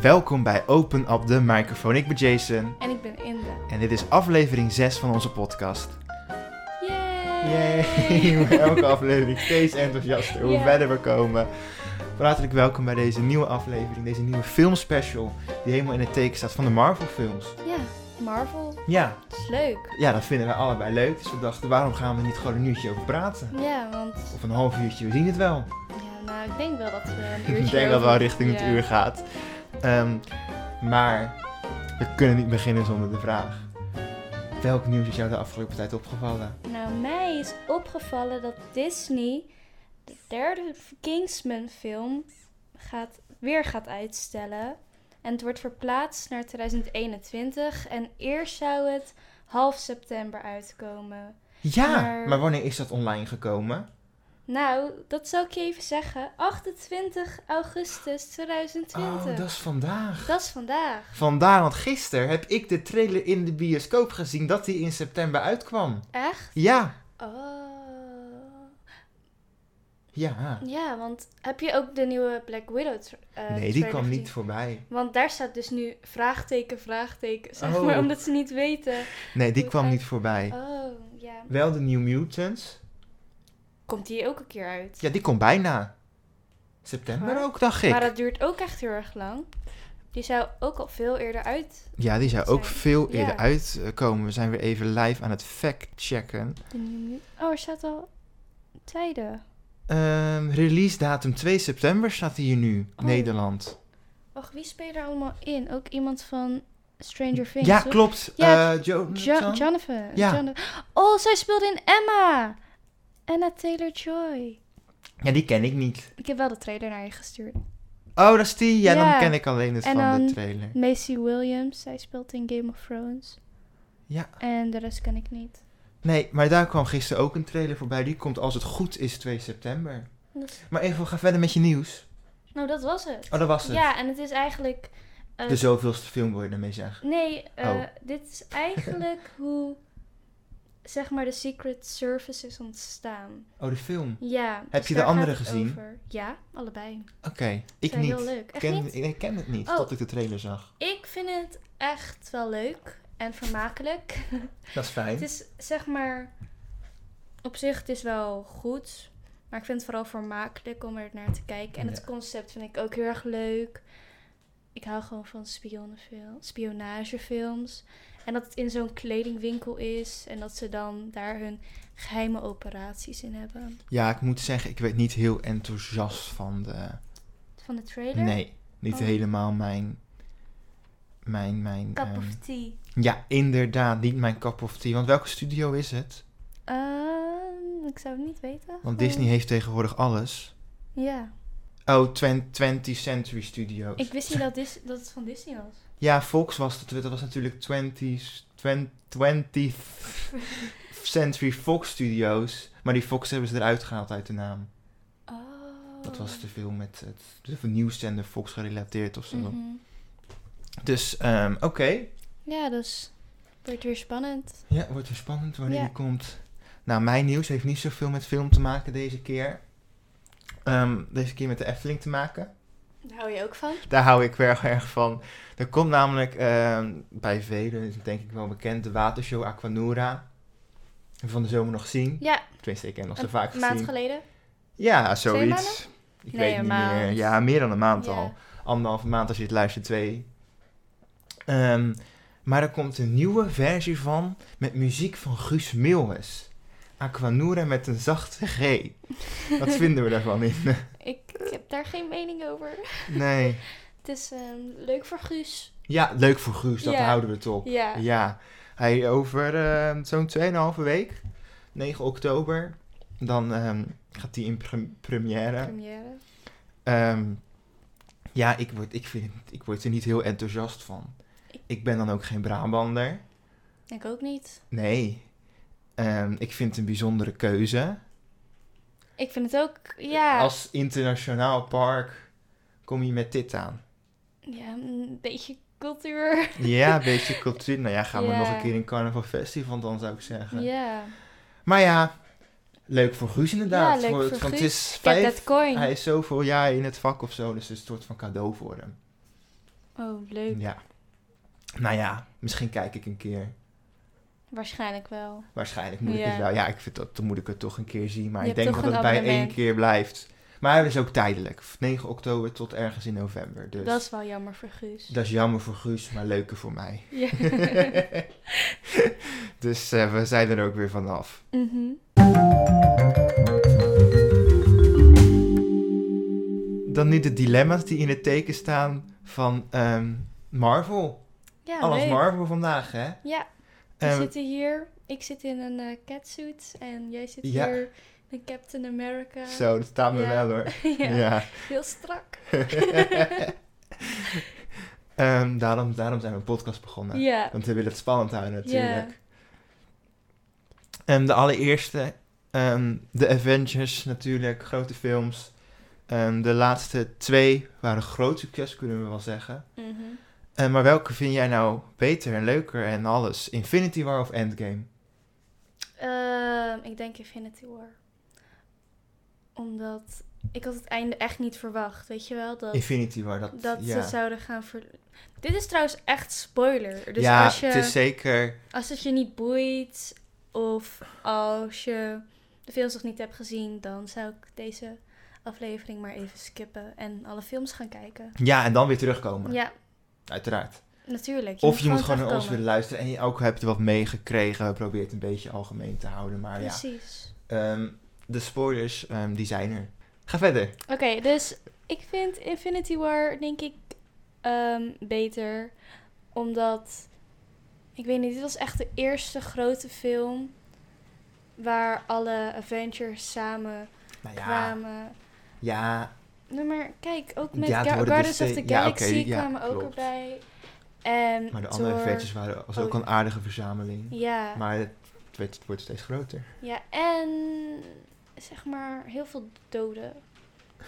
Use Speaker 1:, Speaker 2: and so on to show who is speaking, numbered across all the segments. Speaker 1: Welkom bij Open Up de Microfoon. Ik ben Jason
Speaker 2: En ik ben Inde.
Speaker 1: en dit is aflevering 6 van onze podcast.
Speaker 2: Yay!
Speaker 1: Yay! Met Elke aflevering steeds enthousiaster hoe
Speaker 2: Ja.
Speaker 1: verder we komen. Van Hartelijk welkom bij deze nieuwe aflevering, deze nieuwe filmspecial die helemaal in het teken staat van de Marvel films.
Speaker 2: Ja, Marvel.
Speaker 1: Ja,
Speaker 2: Het is leuk.
Speaker 1: ja dat vinden we allebei leuk, dus we dachten waarom gaan we er niet gewoon een uurtje over praten?
Speaker 2: Ja, want
Speaker 1: Of een half uurtje, we zien het wel.
Speaker 2: ja, nou, ik denk wel dat we een uurtje
Speaker 1: Ik denk dat
Speaker 2: over-
Speaker 1: het wel richting het
Speaker 2: Ja.
Speaker 1: uur gaat. Ehm, maar we kunnen niet beginnen zonder de vraag. Welk nieuws is jou de afgelopen tijd opgevallen?
Speaker 2: Nou, mij is opgevallen dat Disney de derde Kingsman film gaat, weer gaat uitstellen. En het wordt verplaatst naar 2021. En eerst zou het half september uitkomen.
Speaker 1: Ja, maar,
Speaker 2: Maar-
Speaker 1: wanneer is dat online gekomen?
Speaker 2: Nou, dat zal ik je even zeggen. 28 augustus 2020.
Speaker 1: Oh, dat is vandaag.
Speaker 2: Dat is vandaag.
Speaker 1: Vandaar, want gisteren heb ik de trailer in de bioscoop gezien dat die in september uitkwam.
Speaker 2: Echt?
Speaker 1: Ja,
Speaker 2: Oh.
Speaker 1: ja.
Speaker 2: Ja, want heb je ook de nieuwe Black Widow tra- eh,
Speaker 1: nee, die
Speaker 2: trailer
Speaker 1: kwam
Speaker 2: gezien?
Speaker 1: niet voorbij.
Speaker 2: Want daar staat dus nu vraagteken, vraagteken, zeg
Speaker 1: Oh.
Speaker 2: maar, omdat ze niet weten.
Speaker 1: Nee, die
Speaker 2: Hoe
Speaker 1: kwam
Speaker 2: uit-
Speaker 1: niet voorbij.
Speaker 2: Oh, ja.
Speaker 1: Wel de New Mutants.
Speaker 2: Komt die ook een keer uit?
Speaker 1: Ja, die komt bijna. September
Speaker 2: Waar?
Speaker 1: ook, dacht ik.
Speaker 2: Maar dat duurt ook echt heel erg lang. Die zou ook al veel eerder uit.
Speaker 1: Ja, die zou ook
Speaker 2: zijn.
Speaker 1: veel
Speaker 2: Ja.
Speaker 1: eerder uitkomen. We zijn weer even live aan het fact-checken.
Speaker 2: De nieuwe... Oh, er staat al tweede.
Speaker 1: Ehm, release datum 2 september staat hier nu,
Speaker 2: Oh.
Speaker 1: Nederland.
Speaker 2: Wacht, wie speelt er allemaal in? Ook iemand van Stranger Things,
Speaker 1: ja,
Speaker 2: toch?
Speaker 1: klopt.
Speaker 2: Ja,
Speaker 1: Eh, Jo-
Speaker 2: Jo-
Speaker 1: Jonathan?
Speaker 2: Jonathan.
Speaker 1: Ja.
Speaker 2: Jona- Oh, zij speelde in Emma. Anna Taylor-Joy.
Speaker 1: ja, die ken ik niet.
Speaker 2: Ik heb wel de trailer naar je gestuurd.
Speaker 1: Oh, dat is die? Ja, dan
Speaker 2: Ja.
Speaker 1: ken ik alleen het
Speaker 2: En
Speaker 1: van de
Speaker 2: dan-
Speaker 1: trailer.
Speaker 2: Macy Williams, zij speelt in Game of Thrones.
Speaker 1: Ja.
Speaker 2: En de rest ken ik niet.
Speaker 1: Nee, maar daar kwam gisteren ook een trailer voorbij. Die komt als het goed is 2 september.
Speaker 2: Dat is-
Speaker 1: Maar even, we gaan verder met je nieuws.
Speaker 2: Nou, dat was het.
Speaker 1: Oh, dat was het.
Speaker 2: Ja, en het is eigenlijk... eh,
Speaker 1: De zoveelste film wil je daarmee zeggen.
Speaker 2: Nee, eh,
Speaker 1: Oh.
Speaker 2: dit is eigenlijk hoe, zeg maar, de Secret Service is ontstaan.
Speaker 1: Oh, de film.
Speaker 2: Ja.
Speaker 1: Heb
Speaker 2: dus
Speaker 1: je de
Speaker 2: daar
Speaker 1: andere
Speaker 2: gaat het
Speaker 1: gezien?
Speaker 2: over. Ja, allebei.
Speaker 1: Oké, ik
Speaker 2: Zijn
Speaker 1: niet.
Speaker 2: heel leuk. Echt
Speaker 1: ken,
Speaker 2: niet?
Speaker 1: Ik, ik ken het niet,
Speaker 2: Oh.
Speaker 1: tot ik de trailer zag.
Speaker 2: Ik vind het echt wel leuk en vermakelijk.
Speaker 1: Dat is fijn.
Speaker 2: Het is zeg maar op zich het is wel goed, maar ik vind het vooral vermakelijk om er naar te kijken. En
Speaker 1: Ja.
Speaker 2: het concept vind ik ook heel erg leuk. Ik hou gewoon van spionnenfil- spionagefilms. En dat het in zo'n kledingwinkel is en dat ze dan daar hun geheime operaties in hebben.
Speaker 1: Ja, ik moet zeggen, ik werd niet heel enthousiast van de.
Speaker 2: Van de trailer?
Speaker 1: Nee, niet
Speaker 2: Oh.
Speaker 1: helemaal mijn. Mijn, mijn.
Speaker 2: Cup
Speaker 1: ehm,
Speaker 2: of tea.
Speaker 1: ja, inderdaad, niet mijn cup of tea. Want welke studio is het?
Speaker 2: Ehm, ik zou het niet weten.
Speaker 1: Want
Speaker 2: gewoon.
Speaker 1: Disney heeft tegenwoordig alles.
Speaker 2: Ja.
Speaker 1: Oh, 20th Century Studios.
Speaker 2: Ik wist niet dat, Dis- dat het van Disney was.
Speaker 1: Ja, Fox was dat. Dat was natuurlijk 20th, 20th Century Fox Studios. Maar die Fox hebben ze eruit gehaald uit de naam.
Speaker 2: Oh.
Speaker 1: Dat was te veel met het dus, de nieuwszender Fox gerelateerd of zo.
Speaker 2: Mhm.
Speaker 1: Dus, ehm, oké.
Speaker 2: Ja, dus het wordt weer spannend.
Speaker 1: Ja, wordt weer spannend wanneer
Speaker 2: Ja.
Speaker 1: die komt. Nou, mijn nieuws heeft niet zoveel met film te maken deze keer. Ehm, deze keer met de Efteling te maken.
Speaker 2: Daar hou je ook van?
Speaker 1: Daar hou ik wel erg van. Er komt namelijk ehm, bij velen, is het denk ik wel bekend, de watershow Aquanura. Hebben we Van de zomer nog zien.
Speaker 2: Ja,
Speaker 1: Tenminste, ik heb hem nog zo
Speaker 2: een
Speaker 1: vaak
Speaker 2: maand
Speaker 1: gezien.
Speaker 2: geleden.
Speaker 1: Ja,
Speaker 2: Twee
Speaker 1: zoiets.
Speaker 2: maanden?
Speaker 1: Ik
Speaker 2: Nee,
Speaker 1: weet
Speaker 2: een
Speaker 1: niet
Speaker 2: maand.
Speaker 1: meer. Ja, meer dan een maand
Speaker 2: Ja.
Speaker 1: al. Anderhalve maand als je het luistert, twee. Ehm, maar er komt een nieuwe versie van met muziek van Guus Meeuwis. Aquanura met een zachte G. Wat vinden we daarvan in?
Speaker 2: Ik, ik heb daar geen mening over.
Speaker 1: Nee.
Speaker 2: Het is ehm, leuk voor Guus.
Speaker 1: Ja, leuk voor Guus, dat
Speaker 2: Ja.
Speaker 1: houden we toch.
Speaker 2: Ja.
Speaker 1: Ja, hij over eh, zo'n 2,5 week, 9 oktober, dan ehm, gaat hij in pre- première.
Speaker 2: Première.
Speaker 1: Ehm, ja, ik word, ik, vind, het- ik word er niet heel enthousiast van.
Speaker 2: Ik-
Speaker 1: Ik ben dan ook geen Brabander.
Speaker 2: Ik ook niet.
Speaker 1: Nee. Ehm, ik vind het een bijzondere keuze.
Speaker 2: Ik vind het ook, ja.
Speaker 1: Als internationaal park kom je met dit aan.
Speaker 2: Ja, een beetje cultuur.
Speaker 1: Ja, een beetje cultuur. Nou ja, ga maar
Speaker 2: Ja.
Speaker 1: nog een keer in Carnaval Festival dan zou ik zeggen.
Speaker 2: Ja.
Speaker 1: Maar ja, leuk voor Guus inderdaad.
Speaker 2: Ja, leuk
Speaker 1: het-
Speaker 2: voor
Speaker 1: want het
Speaker 2: Guus.
Speaker 1: is
Speaker 2: Get
Speaker 1: vijf,
Speaker 2: that coin.
Speaker 1: hij is zoveel jaar in het vak of zo, dus het is een soort van cadeau voor hem.
Speaker 2: Oh, leuk.
Speaker 1: Ja. Nou ja, misschien kijk ik een keer.
Speaker 2: Waarschijnlijk wel.
Speaker 1: Waarschijnlijk moet ik
Speaker 2: Ja.
Speaker 1: het wel. Ja, ik vind dat, dan moet ik het toch een keer zien. Maar
Speaker 2: Je
Speaker 1: ik
Speaker 2: hebt
Speaker 1: denk
Speaker 2: toch
Speaker 1: dat het
Speaker 2: een
Speaker 1: bij één
Speaker 2: abonnement.
Speaker 1: keer blijft. Maar het is ook tijdelijk. 9 oktober tot ergens in november. Dus
Speaker 2: Dat is wel jammer voor Guus.
Speaker 1: dat is jammer voor Guus, maar leuker voor mij.
Speaker 2: Ja.
Speaker 1: dus eh, we zijn er ook weer vanaf.
Speaker 2: Mhm.
Speaker 1: Dan nu de dilemma's die in het teken staan van ehm, Marvel.
Speaker 2: Ja,
Speaker 1: Alles
Speaker 2: leuk.
Speaker 1: Marvel vandaag, hè?
Speaker 2: Ja, we
Speaker 1: Ehm,
Speaker 2: zitten hier. Ik zit in een eh, catsuit en jij zit
Speaker 1: Ja.
Speaker 2: hier in een Captain America.
Speaker 1: Zo, dat staat me
Speaker 2: Ja.
Speaker 1: wel hoor.
Speaker 2: ja.
Speaker 1: ja.
Speaker 2: Heel strak.
Speaker 1: Ehm, daarom, daarom zijn we een podcast begonnen.
Speaker 2: Ja.
Speaker 1: Want we willen het spannend houden natuurlijk.
Speaker 2: Ja.
Speaker 1: Ehm, de allereerste, ehm, de Avengers natuurlijk, grote films. Ehm, de laatste twee waren groot succes, kunnen we wel zeggen.
Speaker 2: Mhm.
Speaker 1: Eh, maar welke vind jij nou beter en leuker en alles? Infinity War of Endgame?
Speaker 2: Ehm, ik denk Infinity War. Omdat ik had het einde echt niet verwacht. Weet je wel? Dat,
Speaker 1: Infinity War, dat,
Speaker 2: dat
Speaker 1: ja.
Speaker 2: ze zouden gaan ver... Dit is trouwens echt spoiler. Dus
Speaker 1: ja,
Speaker 2: als, je,
Speaker 1: het is zeker...
Speaker 2: als het je niet boeit of als je de films nog niet hebt gezien, dan zou ik deze aflevering maar even skippen en alle films gaan kijken.
Speaker 1: Ja, en dan weer terugkomen,
Speaker 2: Ja,
Speaker 1: uiteraard.
Speaker 2: natuurlijk.
Speaker 1: of je moet gewoon naar ons
Speaker 2: terugkomen.
Speaker 1: willen luisteren. En je, ook heb je er wat meegekregen. Probeer het een beetje algemeen te houden. Maar
Speaker 2: Dus
Speaker 1: ja,
Speaker 2: Precies.
Speaker 1: Ehm, de spoilers, ehm, die zijn er. Ga verder.
Speaker 2: Oké, dus ik vind Infinity War, denk ik, ehm, beter. Omdat, ik weet niet, dit was echt de eerste grote film waar alle Avengers samen
Speaker 1: Nou ja,
Speaker 2: kwamen.
Speaker 1: ja,
Speaker 2: Nee, maar kijk, ook met
Speaker 1: Ja, het
Speaker 2: Ga-
Speaker 1: worden
Speaker 2: Guardians
Speaker 1: dus
Speaker 2: of the
Speaker 1: de- ja,
Speaker 2: Galaxy
Speaker 1: oké, ja,
Speaker 2: kwamen ook
Speaker 1: klopt.
Speaker 2: erbij. En
Speaker 1: maar de andere
Speaker 2: door-
Speaker 1: eventjes waren, was ook
Speaker 2: Oh.
Speaker 1: een aardige verzameling.
Speaker 2: Ja,
Speaker 1: Maar het, werd- het wordt steeds groter.
Speaker 2: ja, en zeg maar heel veel doden.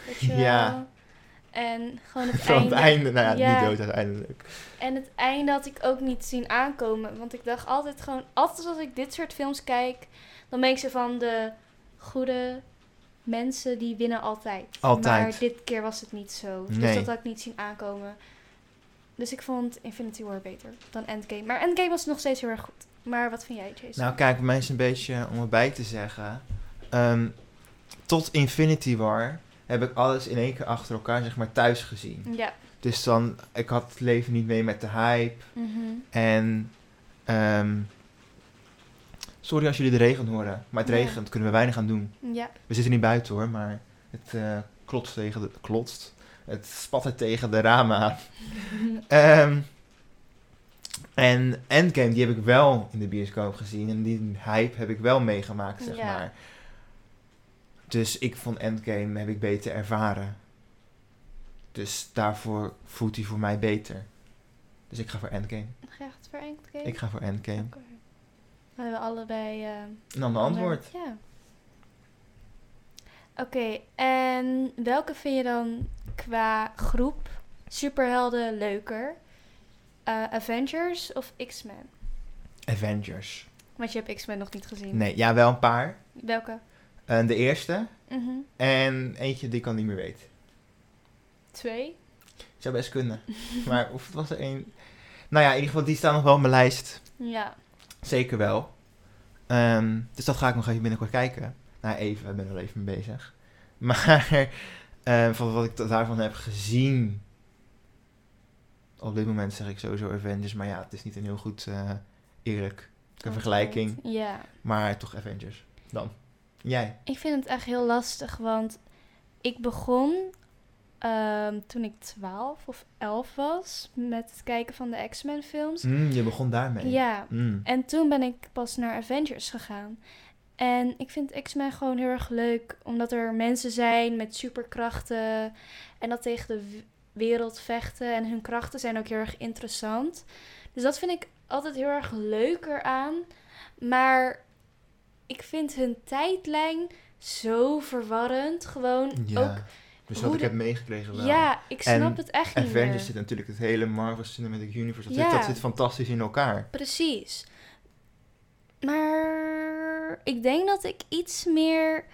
Speaker 2: Weet je
Speaker 1: Ja.
Speaker 2: wel? En gewoon het
Speaker 1: Van het einde, nou ja,
Speaker 2: Ja.
Speaker 1: niet dood uiteindelijk.
Speaker 2: En het einde had ik ook niet zien aankomen. Want ik dacht altijd gewoon, altijd als ik dit soort films kijk, dan ben ik zo van de goede mensen die winnen altijd.
Speaker 1: Altijd.
Speaker 2: Maar dit keer was het niet zo. Dus
Speaker 1: Nee.
Speaker 2: dat had ik niet zien aankomen. Dus ik vond Infinity War beter dan Endgame. Maar Endgame was nog steeds heel erg goed. Maar wat vind jij, Jason?
Speaker 1: Nou kijk, mensen een beetje om erbij te zeggen. ehm, tot Infinity War heb ik alles in één keer achter elkaar zeg maar thuis gezien.
Speaker 2: Ja.
Speaker 1: Dus dan, ik had het leven niet mee met de hype.
Speaker 2: Mhm.
Speaker 1: En, ehm, sorry als jullie de regen horen. Maar het
Speaker 2: Ja.
Speaker 1: regent, kunnen we weinig aan doen.
Speaker 2: Ja.
Speaker 1: We zitten niet buiten hoor, maar het eh, klotst tegen de... Klotst? Het spatte tegen de ramen aan. Ehm, en Endgame, die heb ik wel in de bioscoop gezien. En die hype heb ik wel meegemaakt, zeg
Speaker 2: Ja.
Speaker 1: maar. Dus ik vond Endgame heb ik beter ervaren. Dus daarvoor voelt hij voor mij beter. Dus ik ga voor Endgame.
Speaker 2: Ga je echt voor Endgame?
Speaker 1: Ik ga voor Endgame.
Speaker 2: Oké. We hebben allebei... eh,
Speaker 1: En dan de antwoord.
Speaker 2: Ja. Oké, en welke vind je dan qua groep superhelden leuker? Eh, Avengers of X-Men?
Speaker 1: Avengers.
Speaker 2: Want je hebt X-Men nog niet gezien.
Speaker 1: Nee, ja, wel een paar.
Speaker 2: Welke?
Speaker 1: Eh, de eerste.
Speaker 2: Mhm.
Speaker 1: En eentje die ik al niet meer weet.
Speaker 2: Twee?
Speaker 1: Zou best kunnen. maar of het was er één. Nou ja, in ieder geval, die staan nog wel op mijn lijst.
Speaker 2: Ja.
Speaker 1: Zeker wel. Ehm, dus dat ga ik nog even binnenkort kijken. Nou, even, ik ben er wel even mee bezig. Maar ehm, van wat ik da- daarvan heb gezien. Op dit moment zeg ik sowieso Avengers. Maar ja, het is niet een heel goed, eh, eerlijk een vergelijking.
Speaker 2: Ja.
Speaker 1: Maar toch Avengers. Dan. Jij.
Speaker 2: Ik vind het echt heel lastig, want ik begon ehm, toen ik 12 of 11 was met het kijken van de X-Men films.
Speaker 1: Mm, je begon daarmee.
Speaker 2: Ja,
Speaker 1: Mm.
Speaker 2: En toen ben ik pas naar Avengers gegaan. En ik vind X-Men gewoon heel erg leuk, omdat er mensen zijn met superkrachten en dat tegen de w- wereld vechten. En hun krachten zijn ook heel erg interessant. Dus dat vind ik altijd heel erg leuker aan. Maar ik vind hun tijdlijn zo verwarrend. Gewoon
Speaker 1: Ja.
Speaker 2: ook.
Speaker 1: dus
Speaker 2: hoe
Speaker 1: wat ik
Speaker 2: de-
Speaker 1: heb meegekregen wel.
Speaker 2: Ja, ik
Speaker 1: En
Speaker 2: snap het echt niet.
Speaker 1: Avengers
Speaker 2: meer.
Speaker 1: zit natuurlijk het hele Marvel Cinematic Universe. Dat,
Speaker 2: Ja.
Speaker 1: zit, dat zit fantastisch in elkaar.
Speaker 2: Precies. Maar ik denk dat ik iets meer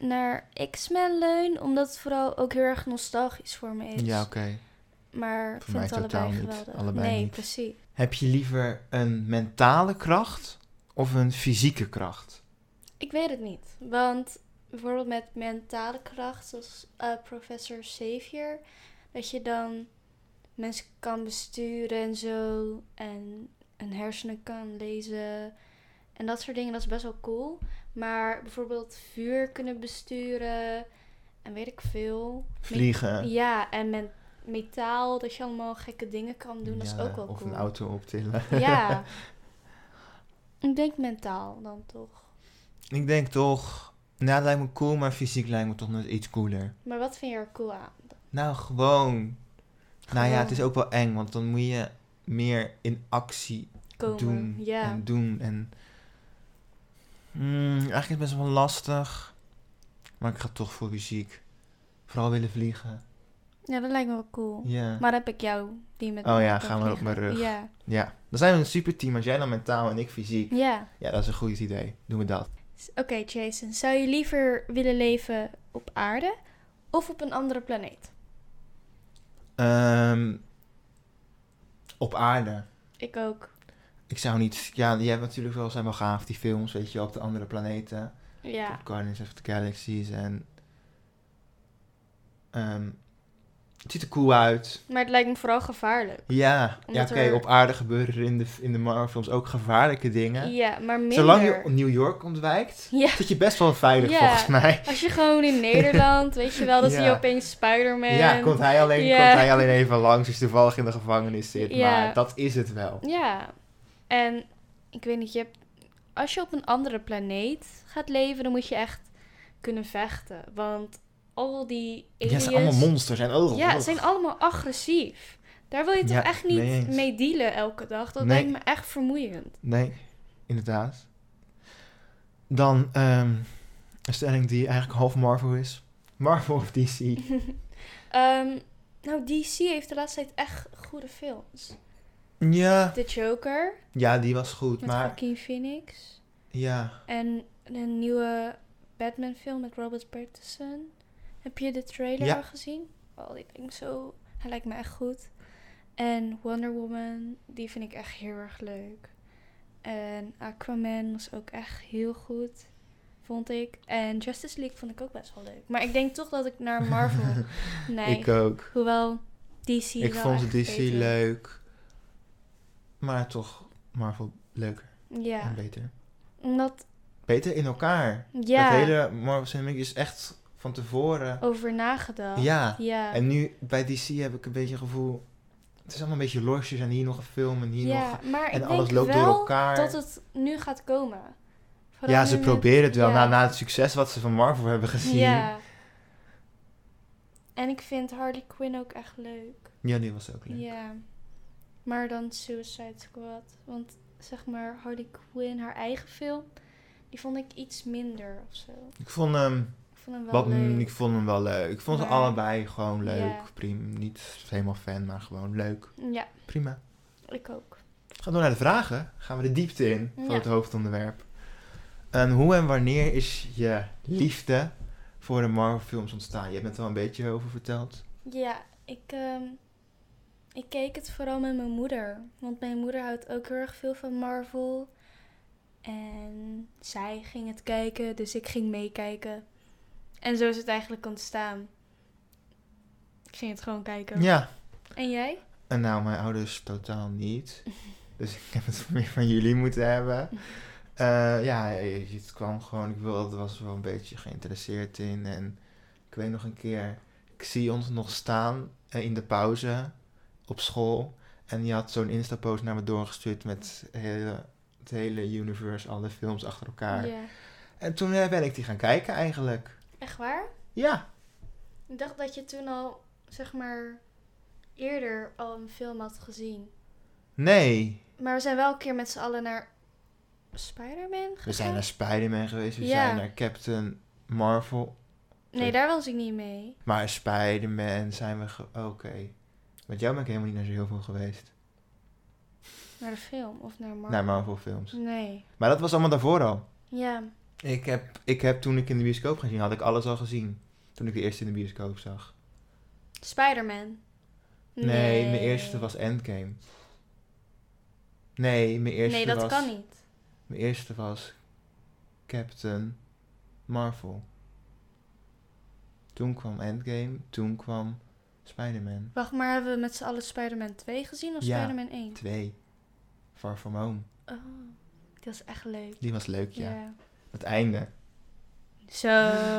Speaker 2: naar X-Men leun, omdat het vooral ook heel erg nostalgisch voor me is.
Speaker 1: Ja, oké.
Speaker 2: Maar ik
Speaker 1: Voor
Speaker 2: vind
Speaker 1: mij
Speaker 2: het allebei
Speaker 1: totaal niet.
Speaker 2: geweldig.
Speaker 1: Allebei
Speaker 2: nee,
Speaker 1: niet.
Speaker 2: precies.
Speaker 1: Heb je liever een mentale kracht of een fysieke kracht?
Speaker 2: Ik weet het niet. Want bijvoorbeeld met mentale kracht, zoals eh, professor Xavier, dat je dan mensen kan besturen en zo. En hun hersenen kan lezen. En dat soort dingen, dat is best wel cool. Maar bijvoorbeeld vuur kunnen besturen. En weet ik veel.
Speaker 1: Vliegen.
Speaker 2: Ja, en met metaal, dat je allemaal gekke dingen kan doen, dat is
Speaker 1: Ja,
Speaker 2: ook wel
Speaker 1: Of
Speaker 2: cool.
Speaker 1: een auto optillen.
Speaker 2: Ja. Ik denk mentaal dan toch.
Speaker 1: Ik denk toch, nou het lijkt me cool, maar fysiek lijkt me toch net iets cooler.
Speaker 2: Maar wat vind je er cool aan?
Speaker 1: Nou, gewoon. Nou ja,
Speaker 2: Gewoon
Speaker 1: het is ook wel eng, want dan moet je meer in actie
Speaker 2: Komen.
Speaker 1: doen
Speaker 2: ja.
Speaker 1: en doen. En Mm, eigenlijk is het best wel lastig, maar ik ga toch voor fysiek. Vooral willen vliegen.
Speaker 2: ja, dat lijkt me wel cool.
Speaker 1: Ja.
Speaker 2: Maar heb ik jou die met
Speaker 1: Oh
Speaker 2: me
Speaker 1: ja,
Speaker 2: kan
Speaker 1: gaan we op
Speaker 2: vliegen.
Speaker 1: mijn rug.
Speaker 2: Ja.
Speaker 1: Ja, dan zijn we een super team. Als jij dan mentaal en ik fysiek.
Speaker 2: ja.
Speaker 1: Ja, dat is een goed idee. Doen we dat.
Speaker 2: S- Oké, Jason. Zou je liever willen leven op aarde of op een andere planeet?
Speaker 1: Ehm, op aarde.
Speaker 2: Ik ook.
Speaker 1: Ik zou niet... Ja, die hebben natuurlijk wel, zijn wel gaaf, die films, weet je wel, op de andere planeten.
Speaker 2: Ja.
Speaker 1: Op Guardians of the Galaxies en... ehm, het ziet er cool uit.
Speaker 2: Maar het lijkt me vooral gevaarlijk.
Speaker 1: Ja, ja
Speaker 2: Omdat
Speaker 1: oké,
Speaker 2: er-
Speaker 1: op aarde gebeuren er in de, in de Marvels ook gevaarlijke
Speaker 2: Ja,
Speaker 1: dingen.
Speaker 2: maar minder.
Speaker 1: Zolang je op New York ontwijkt,
Speaker 2: Ja.
Speaker 1: zit je best wel veilig
Speaker 2: Ja.
Speaker 1: volgens mij.
Speaker 2: Als je gewoon in Nederland, weet je wel, dan zie je
Speaker 1: Ja.
Speaker 2: opeens Spider-Man.
Speaker 1: Ja, komt hij, alleen,
Speaker 2: Ja.
Speaker 1: komt hij alleen even langs, is toevallig in de gevangenis zit.
Speaker 2: Ja.
Speaker 1: Maar dat is het wel.
Speaker 2: Ja. En ik weet niet, je hebt, als je op een andere planeet gaat leven, dan moet je echt kunnen vechten. Want al die
Speaker 1: Ja,
Speaker 2: aliens...
Speaker 1: het zijn allemaal monsters en oh,
Speaker 2: Ja,
Speaker 1: oh.
Speaker 2: het zijn allemaal agressief. Daar wil je toch
Speaker 1: Ja,
Speaker 2: echt niet
Speaker 1: mee eens.
Speaker 2: mee dealen elke dag? Dat
Speaker 1: Nee.
Speaker 2: lijkt me echt vermoeiend.
Speaker 1: Nee, inderdaad. Dan ehm, een stelling die eigenlijk half Marvel is. Marvel of DC?
Speaker 2: Ehm, nou, DC heeft de laatste tijd echt goede films.
Speaker 1: ja,
Speaker 2: The Joker
Speaker 1: ja, die was goed,
Speaker 2: met
Speaker 1: maar
Speaker 2: Joaquin Phoenix.
Speaker 1: ja.
Speaker 2: En een nieuwe Batman film met Robert Pattinson. Heb je de trailer
Speaker 1: Ja.
Speaker 2: al gezien? Oh, die lijkt me zo... Hij lijkt me echt goed. En Wonder Woman, die vind ik echt heel erg leuk. En Aquaman was ook echt heel goed, vond ik. En Justice League vond ik ook best wel leuk. Maar ik denk toch dat ik naar Marvel neig.
Speaker 1: Ik eh, ook.
Speaker 2: Hoewel DC
Speaker 1: Ik
Speaker 2: wel
Speaker 1: vond
Speaker 2: echt
Speaker 1: DC
Speaker 2: beter-
Speaker 1: leuk, maar toch Marvel leuker
Speaker 2: Ja,
Speaker 1: en beter.
Speaker 2: omdat...
Speaker 1: Beter in elkaar.
Speaker 2: Ja,
Speaker 1: Dat hele Marvel Cinematic is echt van tevoren.
Speaker 2: over nagedacht.
Speaker 1: Ja.
Speaker 2: ja.
Speaker 1: En nu bij DC heb ik een beetje het gevoel. Het is allemaal een beetje losjes en hier nog een film en hier
Speaker 2: ja,
Speaker 1: nog.
Speaker 2: maar
Speaker 1: En
Speaker 2: ik
Speaker 1: alles
Speaker 2: denk
Speaker 1: loopt
Speaker 2: wel
Speaker 1: door elkaar.
Speaker 2: dat het nu gaat komen. Vooral
Speaker 1: ja,
Speaker 2: nu
Speaker 1: ze
Speaker 2: met-
Speaker 1: proberen het wel.
Speaker 2: ja.
Speaker 1: Na, na het succes wat ze van Marvel hebben gezien. Ja,
Speaker 2: Ja. En ik vind Harley Quinn ook echt leuk.
Speaker 1: die was ook leuk.
Speaker 2: Ja. Maar dan Suicide Squad. Want zeg maar, Harley Quinn, haar eigen film, die vond ik iets minder of zo.
Speaker 1: Ik, vond hem,
Speaker 2: Ik vond hem wel
Speaker 1: wat,
Speaker 2: leuk.
Speaker 1: ik vond hem wel leuk. Ik vond ze
Speaker 2: Maar-
Speaker 1: allebei gewoon leuk.
Speaker 2: Ja.
Speaker 1: Prima. Niet helemaal fan, maar gewoon leuk.
Speaker 2: Ja,
Speaker 1: Prima.
Speaker 2: ik ook.
Speaker 1: We gaan door naar de vragen. Gaan we de diepte in van
Speaker 2: Ja.
Speaker 1: het hoofdonderwerp. En hoe en wanneer is je liefde voor de Marvel films ontstaan? Je hebt het al een beetje over verteld.
Speaker 2: Ja, ik, ehm, ik keek het vooral met mijn moeder. Want mijn moeder houdt ook heel erg veel van Marvel. En zij ging het kijken, dus ik ging meekijken. En zo is het eigenlijk ontstaan. Ik ging het gewoon kijken.
Speaker 1: Ja,
Speaker 2: En jij?
Speaker 1: En nou, mijn ouders totaal niet. Dus ik heb het meer van jullie moeten hebben. Eh, ja, je- het kwam gewoon, ik wilde, was wel een beetje geïnteresseerd in. En ik weet nog een keer, ik zie ons nog staan eh, in de pauze op school. En die had zo'n Insta-post naar me doorgestuurd met hele, het hele universe, alle films achter elkaar.
Speaker 2: Ja.
Speaker 1: En toen eh, ben ik die gaan kijken eigenlijk.
Speaker 2: Echt waar?
Speaker 1: Ja,
Speaker 2: Ik dacht dat je toen al, zeg maar, eerder al een film had gezien.
Speaker 1: nee.
Speaker 2: Maar we zijn wel een keer met z'n allen naar Spider-Man gegaan.
Speaker 1: We zijn naar Spider-Man geweest, we
Speaker 2: Ja.
Speaker 1: zijn naar Captain Marvel
Speaker 2: Nee, daar was ik niet mee.
Speaker 1: Maar Spider-Man zijn we... ge- Oké. Met jou ben ik helemaal niet naar zo heel veel geweest.
Speaker 2: Naar de film of naar Marvel.
Speaker 1: Naar Marvel films.
Speaker 2: Nee.
Speaker 1: Maar dat was allemaal daarvoor al.
Speaker 2: Ja,
Speaker 1: Ik heb, ik heb toen ik in de bioscoop ging zien, had ik alles al gezien. Toen ik de eerste in de bioscoop zag.
Speaker 2: Spider-Man.
Speaker 1: Nee, mijn eerste was Endgame. Nee, mijn eerste
Speaker 2: Nee, dat
Speaker 1: was...
Speaker 2: kan niet.
Speaker 1: Mijn eerste was Captain Marvel. Toen kwam Endgame, toen kwam Spider-Man
Speaker 2: Wacht, maar hebben we met z'n allen Spider-Man 2 gezien of
Speaker 1: Ja.
Speaker 2: Spider-Man 1?
Speaker 1: 2. Far From Home.
Speaker 2: Oh, dat is echt leuk.
Speaker 1: Die was leuk, ja.
Speaker 2: Ja.
Speaker 1: Het einde.
Speaker 2: Zo.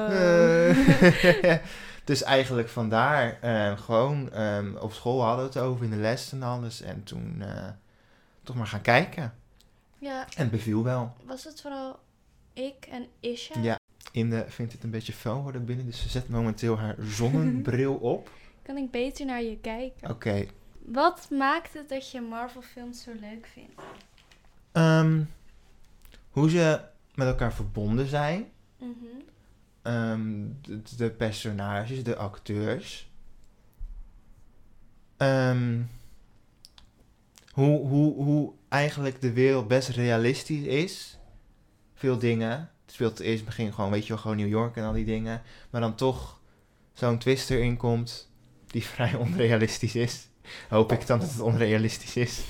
Speaker 1: Eh, dus eigenlijk vandaar eh, gewoon ehm, op school hadden we het over in de les en alles. En toen eh, toch maar gaan kijken.
Speaker 2: ja,
Speaker 1: En het beviel wel.
Speaker 2: was het vooral ik en Isha?
Speaker 1: Ja. Inde vindt het een beetje fel worden binnen, dus ze zet momenteel haar zonnebril op.
Speaker 2: Kan ik beter naar je kijken?
Speaker 1: Oké.
Speaker 2: Wat maakt het dat je Marvel-films zo leuk vindt?
Speaker 1: ehm, hoe ze met elkaar verbonden zijn.
Speaker 2: Mhm.
Speaker 1: Ehm, de, de personages, de acteurs. Ehm, hoe, hoe, hoe eigenlijk de wereld best realistisch is. Veel dingen. Het speelt eerst in het begin gewoon, weet je wel, gewoon New York en al die dingen. Maar dan toch zo'n twist erin komt die vrij onrealistisch is. Hoop ik dan dat het onrealistisch is.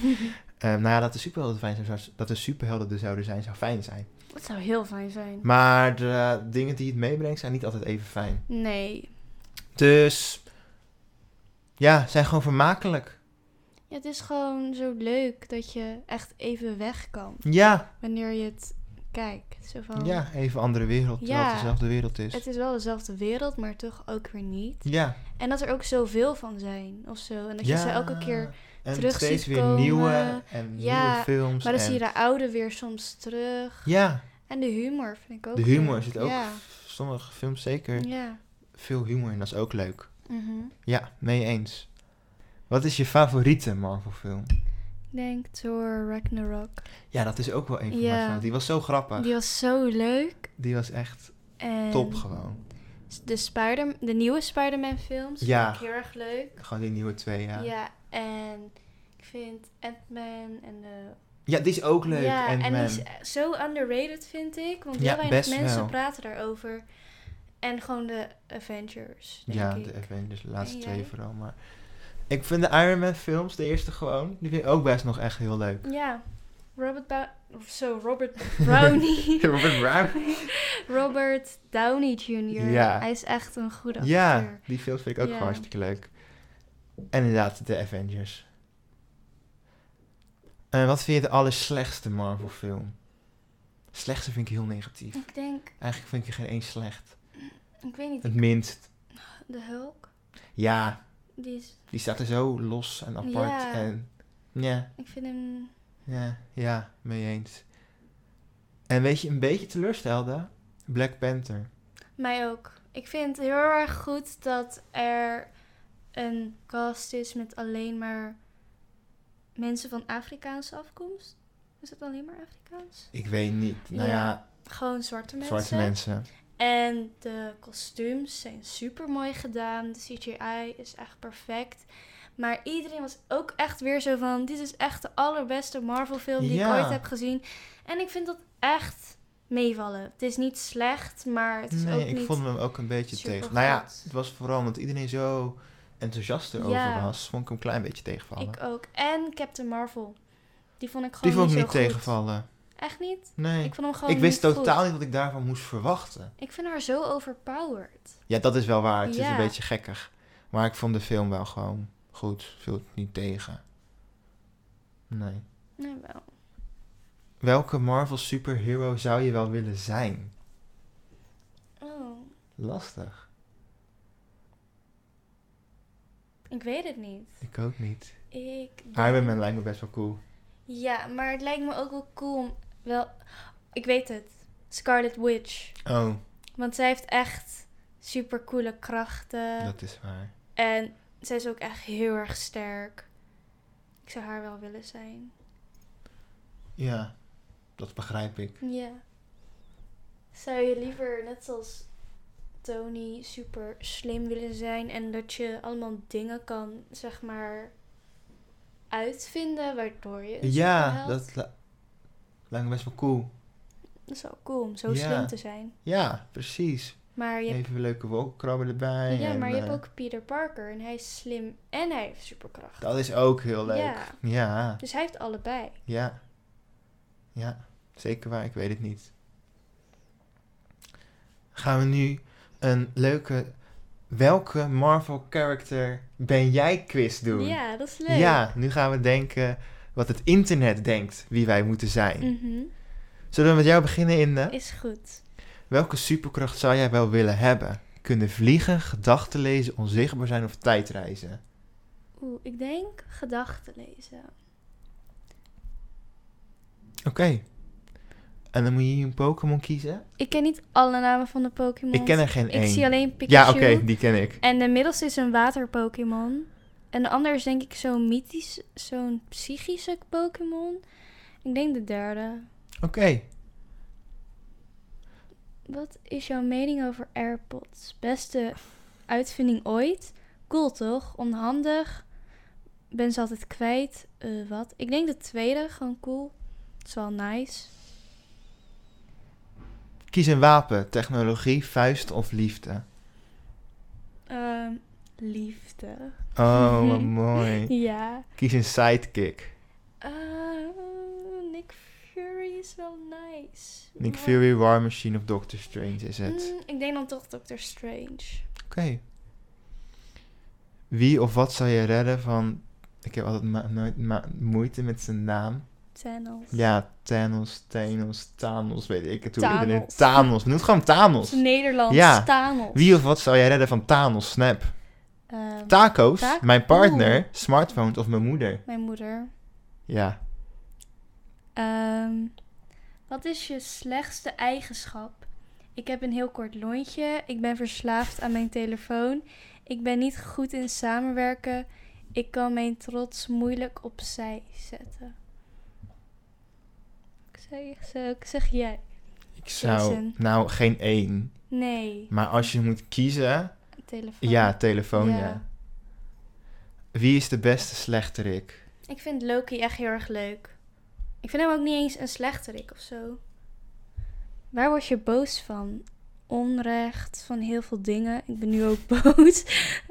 Speaker 1: Ehm nou ja, dat de superhelden fijn zijn, zou- dat de superhelden er zouden zijn, zou fijn zijn.
Speaker 2: Dat zou heel fijn zijn.
Speaker 1: Maar de eh, dingen die het meebrengt zijn niet altijd even fijn.
Speaker 2: Nee.
Speaker 1: Dus ja, zijn gewoon vermakelijk.
Speaker 2: Ja, het is gewoon zo leuk dat je echt even weg kan
Speaker 1: Ja,
Speaker 2: wanneer je het kijkt. Zo van,
Speaker 1: ja dus- even andere wereld, terwijl
Speaker 2: Oh. Ja.
Speaker 1: het dezelfde wereld is.
Speaker 2: Het is wel dezelfde wereld, maar toch ook weer niet.
Speaker 1: Ja.
Speaker 2: En dat er ook zoveel van zijn of zo. En dat
Speaker 1: ja.
Speaker 2: je ze elke keer.
Speaker 1: en
Speaker 2: terug
Speaker 1: steeds
Speaker 2: ziet
Speaker 1: weer
Speaker 2: komen.
Speaker 1: nieuwe en
Speaker 2: Ja,
Speaker 1: nieuwe films.
Speaker 2: Maar dan
Speaker 1: en-
Speaker 2: zie je de oude weer soms terug.
Speaker 1: Ja,
Speaker 2: En de humor vind ik ook.
Speaker 1: de humor
Speaker 2: leuk.
Speaker 1: zit ook.
Speaker 2: Ja.
Speaker 1: Sommige films zeker
Speaker 2: ja.
Speaker 1: veel humor in, dat is ook leuk.
Speaker 2: Mhm.
Speaker 1: Ja, mee eens. Wat is je favoriete Marvel film?
Speaker 2: Ik denk Thor Ragnarok.
Speaker 1: Ja, dat is ook wel een van
Speaker 2: Ja.
Speaker 1: mijn favorieten. Die was zo grappig.
Speaker 2: Die was zo leuk.
Speaker 1: Die was echt
Speaker 2: En
Speaker 1: top gewoon.
Speaker 2: De, Spider de nieuwe Spider-Man films
Speaker 1: Ja.
Speaker 2: vind ik heel erg leuk.
Speaker 1: Gewoon die nieuwe twee,
Speaker 2: Ja, en ik vind Ant-Man en de...
Speaker 1: Ja, die is ook leuk.
Speaker 2: ja, en die
Speaker 1: Ant-Man.
Speaker 2: is eh, zo underrated, vind ik. Want heel
Speaker 1: Ja,
Speaker 2: weinig
Speaker 1: best
Speaker 2: mensen
Speaker 1: wel.
Speaker 2: praten daarover. En gewoon de Avengers, denk
Speaker 1: ja,
Speaker 2: ik.
Speaker 1: de Avengers, de laatste
Speaker 2: En
Speaker 1: twee
Speaker 2: jij?
Speaker 1: vooral. Maar ik vind de Iron Man films, de eerste gewoon, die vind ik ook best nog echt heel leuk.
Speaker 2: Ja, Robert... Ba- of zo, Robert Brownie.
Speaker 1: Robert Brown.
Speaker 2: Robert Downey Jr.
Speaker 1: Ja.
Speaker 2: Hij is echt een goede acteur.
Speaker 1: Ja, die films vind ik ook
Speaker 2: Ja.
Speaker 1: gewoon hartstikke leuk. En inderdaad, de Avengers. En wat vind je de allerslechtste Marvel film? Slechtste vind ik heel negatief.
Speaker 2: Ik denk...
Speaker 1: Eigenlijk vind ik er geen één slecht.
Speaker 2: Ik weet niet,
Speaker 1: Het minst.
Speaker 2: de Hulk.
Speaker 1: Ja,
Speaker 2: Die is...
Speaker 1: die staat er zo los en apart.
Speaker 2: Ja.
Speaker 1: En ja,
Speaker 2: Ik vind hem...
Speaker 1: Ja, ja, mee eens. En weet je, een beetje teleurstelde Black Panther.
Speaker 2: Mij ook. Ik vind het heel erg goed dat er een cast is met alleen maar mensen van Afrikaanse afkomst. Is het alleen maar Afrikaans?
Speaker 1: Ik weet niet. Nou ja,
Speaker 2: Ja, Gewoon zwarte mensen.
Speaker 1: zwarte mensen.
Speaker 2: En de kostuums zijn super mooi gedaan. De CGI is echt perfect. Maar iedereen was ook echt weer zo van: dit is echt de allerbeste Marvel-film die
Speaker 1: Ja.
Speaker 2: ik ooit heb gezien. En ik vind dat echt meevallen. Het is niet slecht, maar het is
Speaker 1: Nee,
Speaker 2: ook
Speaker 1: ik
Speaker 2: niet.
Speaker 1: vond hem ook een beetje
Speaker 2: super
Speaker 1: tegen. Nou ja,
Speaker 2: goed.
Speaker 1: het was vooral omdat iedereen zo enthousiast erover
Speaker 2: Ja.
Speaker 1: was, vond ik hem een klein beetje tegenvallen.
Speaker 2: Ik ook. En Captain Marvel. Die vond ik
Speaker 1: Die
Speaker 2: gewoon
Speaker 1: vond ik
Speaker 2: niet
Speaker 1: niet
Speaker 2: zo goed.
Speaker 1: tegenvallen.
Speaker 2: Echt niet?
Speaker 1: Nee.
Speaker 2: Ik
Speaker 1: Ik,
Speaker 2: vond hem gewoon
Speaker 1: wist
Speaker 2: niet
Speaker 1: totaal
Speaker 2: goed.
Speaker 1: niet wat ik daarvan moest verwachten.
Speaker 2: Ik vind haar zo overpowered.
Speaker 1: Ja, dat is wel waar. Het is
Speaker 2: Ja.
Speaker 1: een beetje gekkig. Maar ik vond de film wel gewoon goed. Viel het niet tegen. Nee.
Speaker 2: Nee, wel.
Speaker 1: Welke Marvel superhero zou je wel willen zijn?
Speaker 2: Oh,
Speaker 1: Lastig.
Speaker 2: ik weet het niet.
Speaker 1: Ik ook niet.
Speaker 2: Ik
Speaker 1: Iron Man lijkt me best wel cool.
Speaker 2: Ja, maar het lijkt me ook wel cool om... Wel, ik weet het. Scarlet Witch.
Speaker 1: Oh,
Speaker 2: Want zij heeft echt super coole krachten.
Speaker 1: dat is waar.
Speaker 2: En zij is ook echt heel erg sterk. Ik zou haar wel willen zijn.
Speaker 1: Ja, dat begrijp ik.
Speaker 2: Ja. Zou je liever net zoals Tony super slim willen zijn en dat je allemaal dingen kan, zeg maar, uitvinden waardoor je. een
Speaker 1: Ja,
Speaker 2: superheld-
Speaker 1: dat li- lijkt me best wel cool.
Speaker 2: dat is wel cool om zo
Speaker 1: Ja.
Speaker 2: slim te zijn.
Speaker 1: Ja, precies.
Speaker 2: Maar je hebt,
Speaker 1: Even leuke wolkenkrabben erbij.
Speaker 2: ja,
Speaker 1: en,
Speaker 2: maar je hebt
Speaker 1: eh,
Speaker 2: ook Peter Parker. En hij is slim en hij heeft superkracht.
Speaker 1: Dat is ook heel leuk.
Speaker 2: Ja.
Speaker 1: ja.
Speaker 2: Dus hij heeft allebei.
Speaker 1: Ja. Ja, zeker waar. Ik weet het niet. Gaan we nu een leuke... Welke Marvel character ben jij quiz doen?
Speaker 2: Ja, dat is leuk.
Speaker 1: Ja, nu gaan we denken wat het internet denkt wie wij moeten zijn.
Speaker 2: Mhm.
Speaker 1: Zullen we met jou beginnen, Inde?
Speaker 2: Is goed.
Speaker 1: Welke superkracht zou jij wel willen hebben? Kunnen vliegen, gedachten lezen, onzichtbaar zijn of tijdreizen?
Speaker 2: Oeh, ik denk gedachten lezen.
Speaker 1: Oké. En dan moet je hier een Pokémon kiezen?
Speaker 2: Ik ken niet alle namen van de Pokémon.
Speaker 1: Ik ken er geen één.
Speaker 2: Ik zie alleen Pikachu.
Speaker 1: ja, oké, die ken ik.
Speaker 2: En de middelste is een water-Pokémon. En de ander is denk ik zo'n mythisch, zo'n psychische Pokémon. Ik denk de derde.
Speaker 1: Oké.
Speaker 2: Wat is jouw mening over AirPods? Beste uitvinding ooit? Cool toch? Onhandig? Ben ze altijd kwijt? Eh, wat? Ik denk de tweede, gewoon cool. Het is wel nice.
Speaker 1: Kies een wapen, technologie, vuist of liefde.
Speaker 2: Ehm, liefde.
Speaker 1: Oh, wat mooi.
Speaker 2: Ja.
Speaker 1: Kies een sidekick.
Speaker 2: Eh, Nick Fury is wel nice.
Speaker 1: Nick
Speaker 2: Maar-
Speaker 1: Fury, War Machine of Doctor Strange is het.
Speaker 2: Mm, ik denk dan toch Doctor Strange.
Speaker 1: Oké. Wie of wat zou je redden van... Ik heb altijd ma- nooit ma- moeite met zijn naam.
Speaker 2: Thanos.
Speaker 1: Ja, Thanos, Thanos, Thanos, weet ik het hoe
Speaker 2: Thanos.
Speaker 1: iedereen... Thanos, noem het gewoon Thanos.
Speaker 2: Het is Nederlands.
Speaker 1: Ja.
Speaker 2: Thanos.
Speaker 1: Wie of wat zou jij redden van Thanos, Snap?
Speaker 2: Ehm,
Speaker 1: Tacos,
Speaker 2: Taco-
Speaker 1: mijn partner,
Speaker 2: Oeh.
Speaker 1: smartphones of mijn moeder?
Speaker 2: mijn moeder.
Speaker 1: Ja.
Speaker 2: Ehm, wat is je slechtste eigenschap? Ik heb een heel kort lontje. Ik ben verslaafd aan mijn telefoon. Ik ben niet goed in samenwerken. Ik kan mijn trots moeilijk opzij zetten. Ik zeg, zo- ik zeg jij.
Speaker 1: Ik zou...
Speaker 2: Jason.
Speaker 1: Nou, geen één.
Speaker 2: Nee,
Speaker 1: Maar als je moet kiezen,
Speaker 2: telefoon.
Speaker 1: ja, telefoon, ja.
Speaker 2: Ja.
Speaker 1: Wie is de beste slechterik?
Speaker 2: Ik vind Loki echt heel erg leuk. Ik vind hem ook niet eens een slechterik of zo. Waar word je boos van? Onrecht, van heel veel dingen. Ik ben nu ook boos.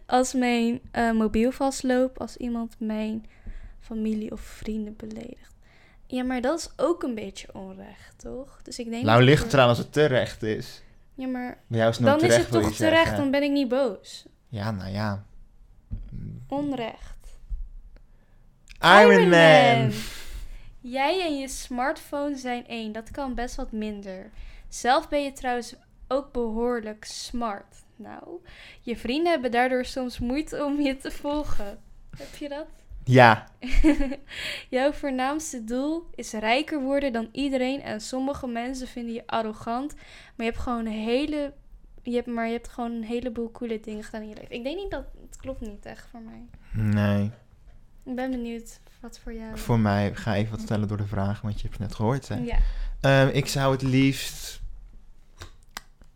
Speaker 2: Als mijn eh, mobiel vastloopt, als iemand mijn familie of vrienden beledigt. Ja, maar dat is ook een beetje onrecht, toch? Dus ik denk.
Speaker 1: Nou
Speaker 2: dat
Speaker 1: ligt
Speaker 2: ik-
Speaker 1: het eraan als het terecht is.
Speaker 2: Ja, maar
Speaker 1: Bij jou is het nooit
Speaker 2: dan is
Speaker 1: terecht,
Speaker 2: het
Speaker 1: wil je
Speaker 2: toch terecht,
Speaker 1: zeggen.
Speaker 2: dan ben ik niet boos.
Speaker 1: Ja, nou ja.
Speaker 2: Onrecht.
Speaker 1: Iron, Man!
Speaker 2: Jij en je smartphone zijn één. Dat kan best wat minder. Zelf ben je trouwens ook behoorlijk smart. Nou, je vrienden hebben daardoor soms moeite om je te volgen. Heb je dat?
Speaker 1: Ja,
Speaker 2: Jouw voornaamste doel is rijker worden dan iedereen. En sommige mensen vinden je arrogant. Maar je hebt gewoon een hele. Je hebt, maar je hebt gewoon een heleboel coole dingen gedaan in je leven. Ik denk niet dat. Het klopt niet echt voor mij.
Speaker 1: nee.
Speaker 2: Ik ben benieuwd wat voor jou.
Speaker 1: Voor mij, ga even wat sneller door de vragen, want je hebt het net gehoord. Hè?
Speaker 2: Ja.
Speaker 1: Ehm, ik zou het liefst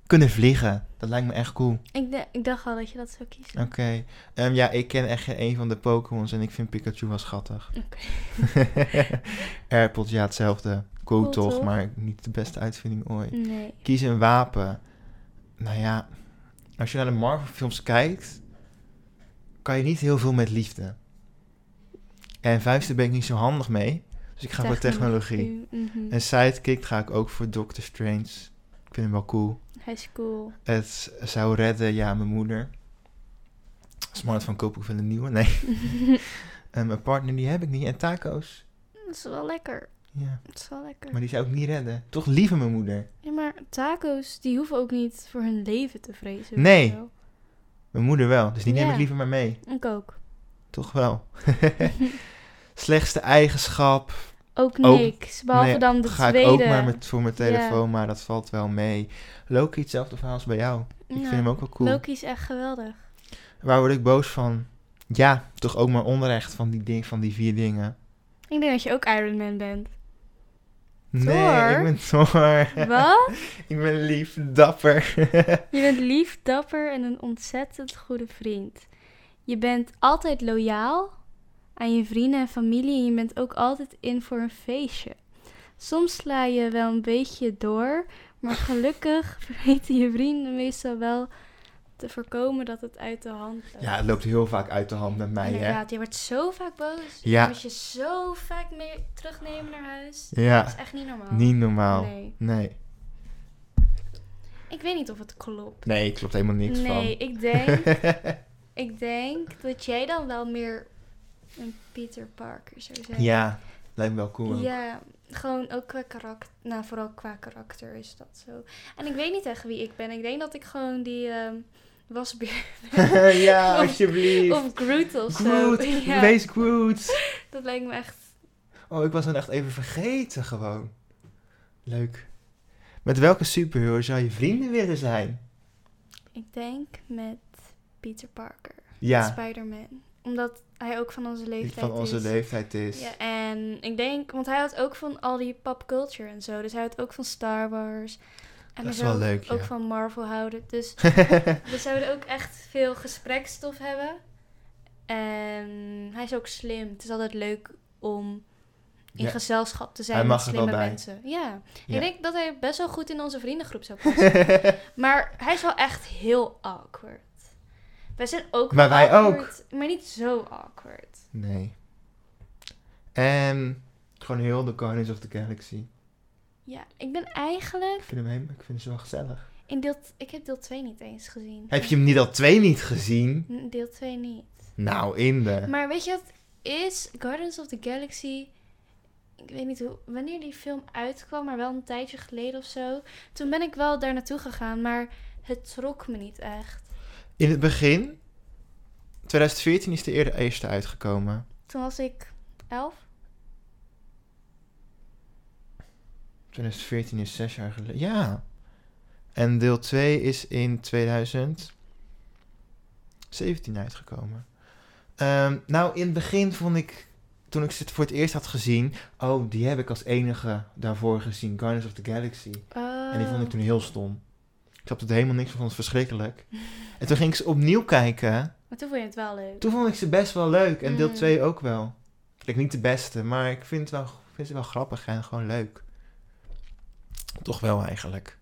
Speaker 1: kunnen vliegen. Dat lijkt me echt cool.
Speaker 2: Ik, d- ik dacht al dat je dat zou kiezen.
Speaker 1: Oké. Ehm, ja, ik ken echt geen een van de Pokémons en ik vind Pikachu wel schattig.
Speaker 2: Oké.
Speaker 1: AirPods, ja, hetzelfde. Cool,
Speaker 2: Cool
Speaker 1: toch,
Speaker 2: toch?
Speaker 1: maar niet de beste uitvinding ooit.
Speaker 2: Nee.
Speaker 1: Kies een wapen. Nou ja, als je naar de Marvel-films kijkt, kan je niet heel veel met liefde. En vuisten ben ik niet zo handig mee, dus ik ga voor technologie.
Speaker 2: Mhm.
Speaker 1: En sidekick ga ik ook voor Doctor Strange. Ik vind hem wel cool.
Speaker 2: Hij is cool.
Speaker 1: Het zou redden, ja, mijn moeder. Smartphone kopen ik van een nieuwe, nee. En mijn partner, die heb ik niet. En taco's,
Speaker 2: Dat is wel lekker.
Speaker 1: ja.
Speaker 2: Dat is wel lekker.
Speaker 1: Maar die zou ik niet redden. Toch liever mijn moeder.
Speaker 2: Ja, maar taco's, die hoeven ook niet voor hun leven te vrezen. weet
Speaker 1: Nee.
Speaker 2: je wel.
Speaker 1: Mijn moeder wel, dus die neem ik
Speaker 2: Ja.
Speaker 1: liever maar mee.
Speaker 2: Ik ook.
Speaker 1: Toch wel. Slechtste eigenschap.
Speaker 2: Ook
Speaker 1: Ook-
Speaker 2: niks. behalve
Speaker 1: nee,
Speaker 2: dan de
Speaker 1: ga
Speaker 2: tweede.
Speaker 1: ik ook maar met, voor mijn telefoon, maar dat valt wel mee. Loki, hetzelfde verhaal als bij jou. Ik vind hem ook wel cool.
Speaker 2: Loki is Nou, echt geweldig.
Speaker 1: Waar word ik boos van? Ja, toch ook maar onrecht van die, ding, van die vier dingen.
Speaker 2: Ik denk dat je ook Iron Man bent.
Speaker 1: Nee, ik
Speaker 2: Thor?
Speaker 1: ben Thor.
Speaker 2: Wat?
Speaker 1: ik ben lief, dapper.
Speaker 2: Je bent lief, dapper en een ontzettend goede vriend. Je bent altijd loyaal aan je vrienden en familie en je bent ook altijd in voor een feestje. Soms sla je wel een beetje door, maar gelukkig weten je vrienden meestal wel te voorkomen dat het uit de hand loopt.
Speaker 1: Ja, het loopt heel vaak uit de hand met mij, hè?
Speaker 2: Inderdaad, je wordt zo vaak boos.
Speaker 1: Ja.
Speaker 2: Je moet je zo vaak mee terugnemen naar huis. Dat
Speaker 1: Ja,
Speaker 2: is echt niet normaal.
Speaker 1: niet normaal.
Speaker 2: Nee.
Speaker 1: Nee.
Speaker 2: Ik weet niet of het klopt.
Speaker 1: Nee, klopt helemaal niks van.
Speaker 2: nee, ik denk, ik denk dat jij dan wel meer een Peter Parker zou zijn.
Speaker 1: ja, lijkt me wel cool. ook.
Speaker 2: Ja, gewoon ook qua karakter. Nou, vooral qua karakter is dat zo. En ik weet niet echt wie ik ben. Ik denk dat ik gewoon die ehm wasbeer
Speaker 1: Ja,
Speaker 2: Of-
Speaker 1: alsjeblieft.
Speaker 2: of Groot of zo.
Speaker 1: Groot,
Speaker 2: Ja,
Speaker 1: wees Groot.
Speaker 2: dat lijkt me echt.
Speaker 1: Oh, ik was hem echt even vergeten gewoon. Leuk. Met welke superhero zou je vrienden willen zijn?
Speaker 2: Ik denk met Peter Parker.
Speaker 1: Ja,
Speaker 2: Spider-Man. Omdat hij ook van onze
Speaker 1: die
Speaker 2: leeftijd
Speaker 1: van onze
Speaker 2: is.
Speaker 1: leeftijd is.
Speaker 2: Ja, en ik denk, want hij had ook van al die popculture en zo. Dus hij had ook van Star Wars.
Speaker 1: Dat
Speaker 2: En we
Speaker 1: is wel
Speaker 2: zouden
Speaker 1: leuk, ja.
Speaker 2: ook van Marvel houden. Dus we zouden ook echt veel gesprekstof hebben. En hij is ook slim. Het is altijd leuk om in
Speaker 1: Ja.
Speaker 2: gezelschap te zijn
Speaker 1: Hij
Speaker 2: met
Speaker 1: mag er wel
Speaker 2: slimme
Speaker 1: bij.
Speaker 2: mensen. Ja.
Speaker 1: Ja.
Speaker 2: ik denk dat hij best wel goed in onze vriendengroep zou passen. maar hij is wel echt heel awkward. Wij zijn ook
Speaker 1: Maar wij
Speaker 2: awkward, maar niet zo awkward.
Speaker 1: nee. En gewoon heel de Guardians of the Galaxy.
Speaker 2: Ja, ik ben eigenlijk
Speaker 1: Ik vind hem helemaal, ik vind ze wel gezellig.
Speaker 2: In deel t- ik heb deel 2 niet eens gezien.
Speaker 1: Heb je hem niet al twee niet gezien?
Speaker 2: N- Deel 2 niet.
Speaker 1: Nou, in de...
Speaker 2: Maar weet je wat is? Guardians of the Galaxy. Ik weet niet hoe, wanneer die film uitkwam, maar wel een tijdje geleden of zo. Toen ben ik wel daar naartoe gegaan, maar het trok me niet echt.
Speaker 1: In het begin, 2014 is de eerder eerste uitgekomen.
Speaker 2: Toen was ik 11.
Speaker 1: 2014 is zes jaar geleden. Ja. En deel 2 is in 2017 uitgekomen. Ehm, nou, in het begin vond ik, toen ik ze voor het eerst had gezien, oh, die heb ik als enige daarvoor gezien, Guardians of the Galaxy.
Speaker 2: Oh,
Speaker 1: En die vond ik toen heel stom. Ik snapte er helemaal niks van, vond het verschrikkelijk. En toen ging ik ze opnieuw kijken.
Speaker 2: Maar toen vond je het wel leuk.
Speaker 1: Toen vond ik ze best wel leuk. En deel
Speaker 2: Mm.
Speaker 1: 2 ook wel. Kijk, niet de beste, maar ik vind, het wel, vind ze wel grappig en gewoon leuk. Toch wel eigenlijk.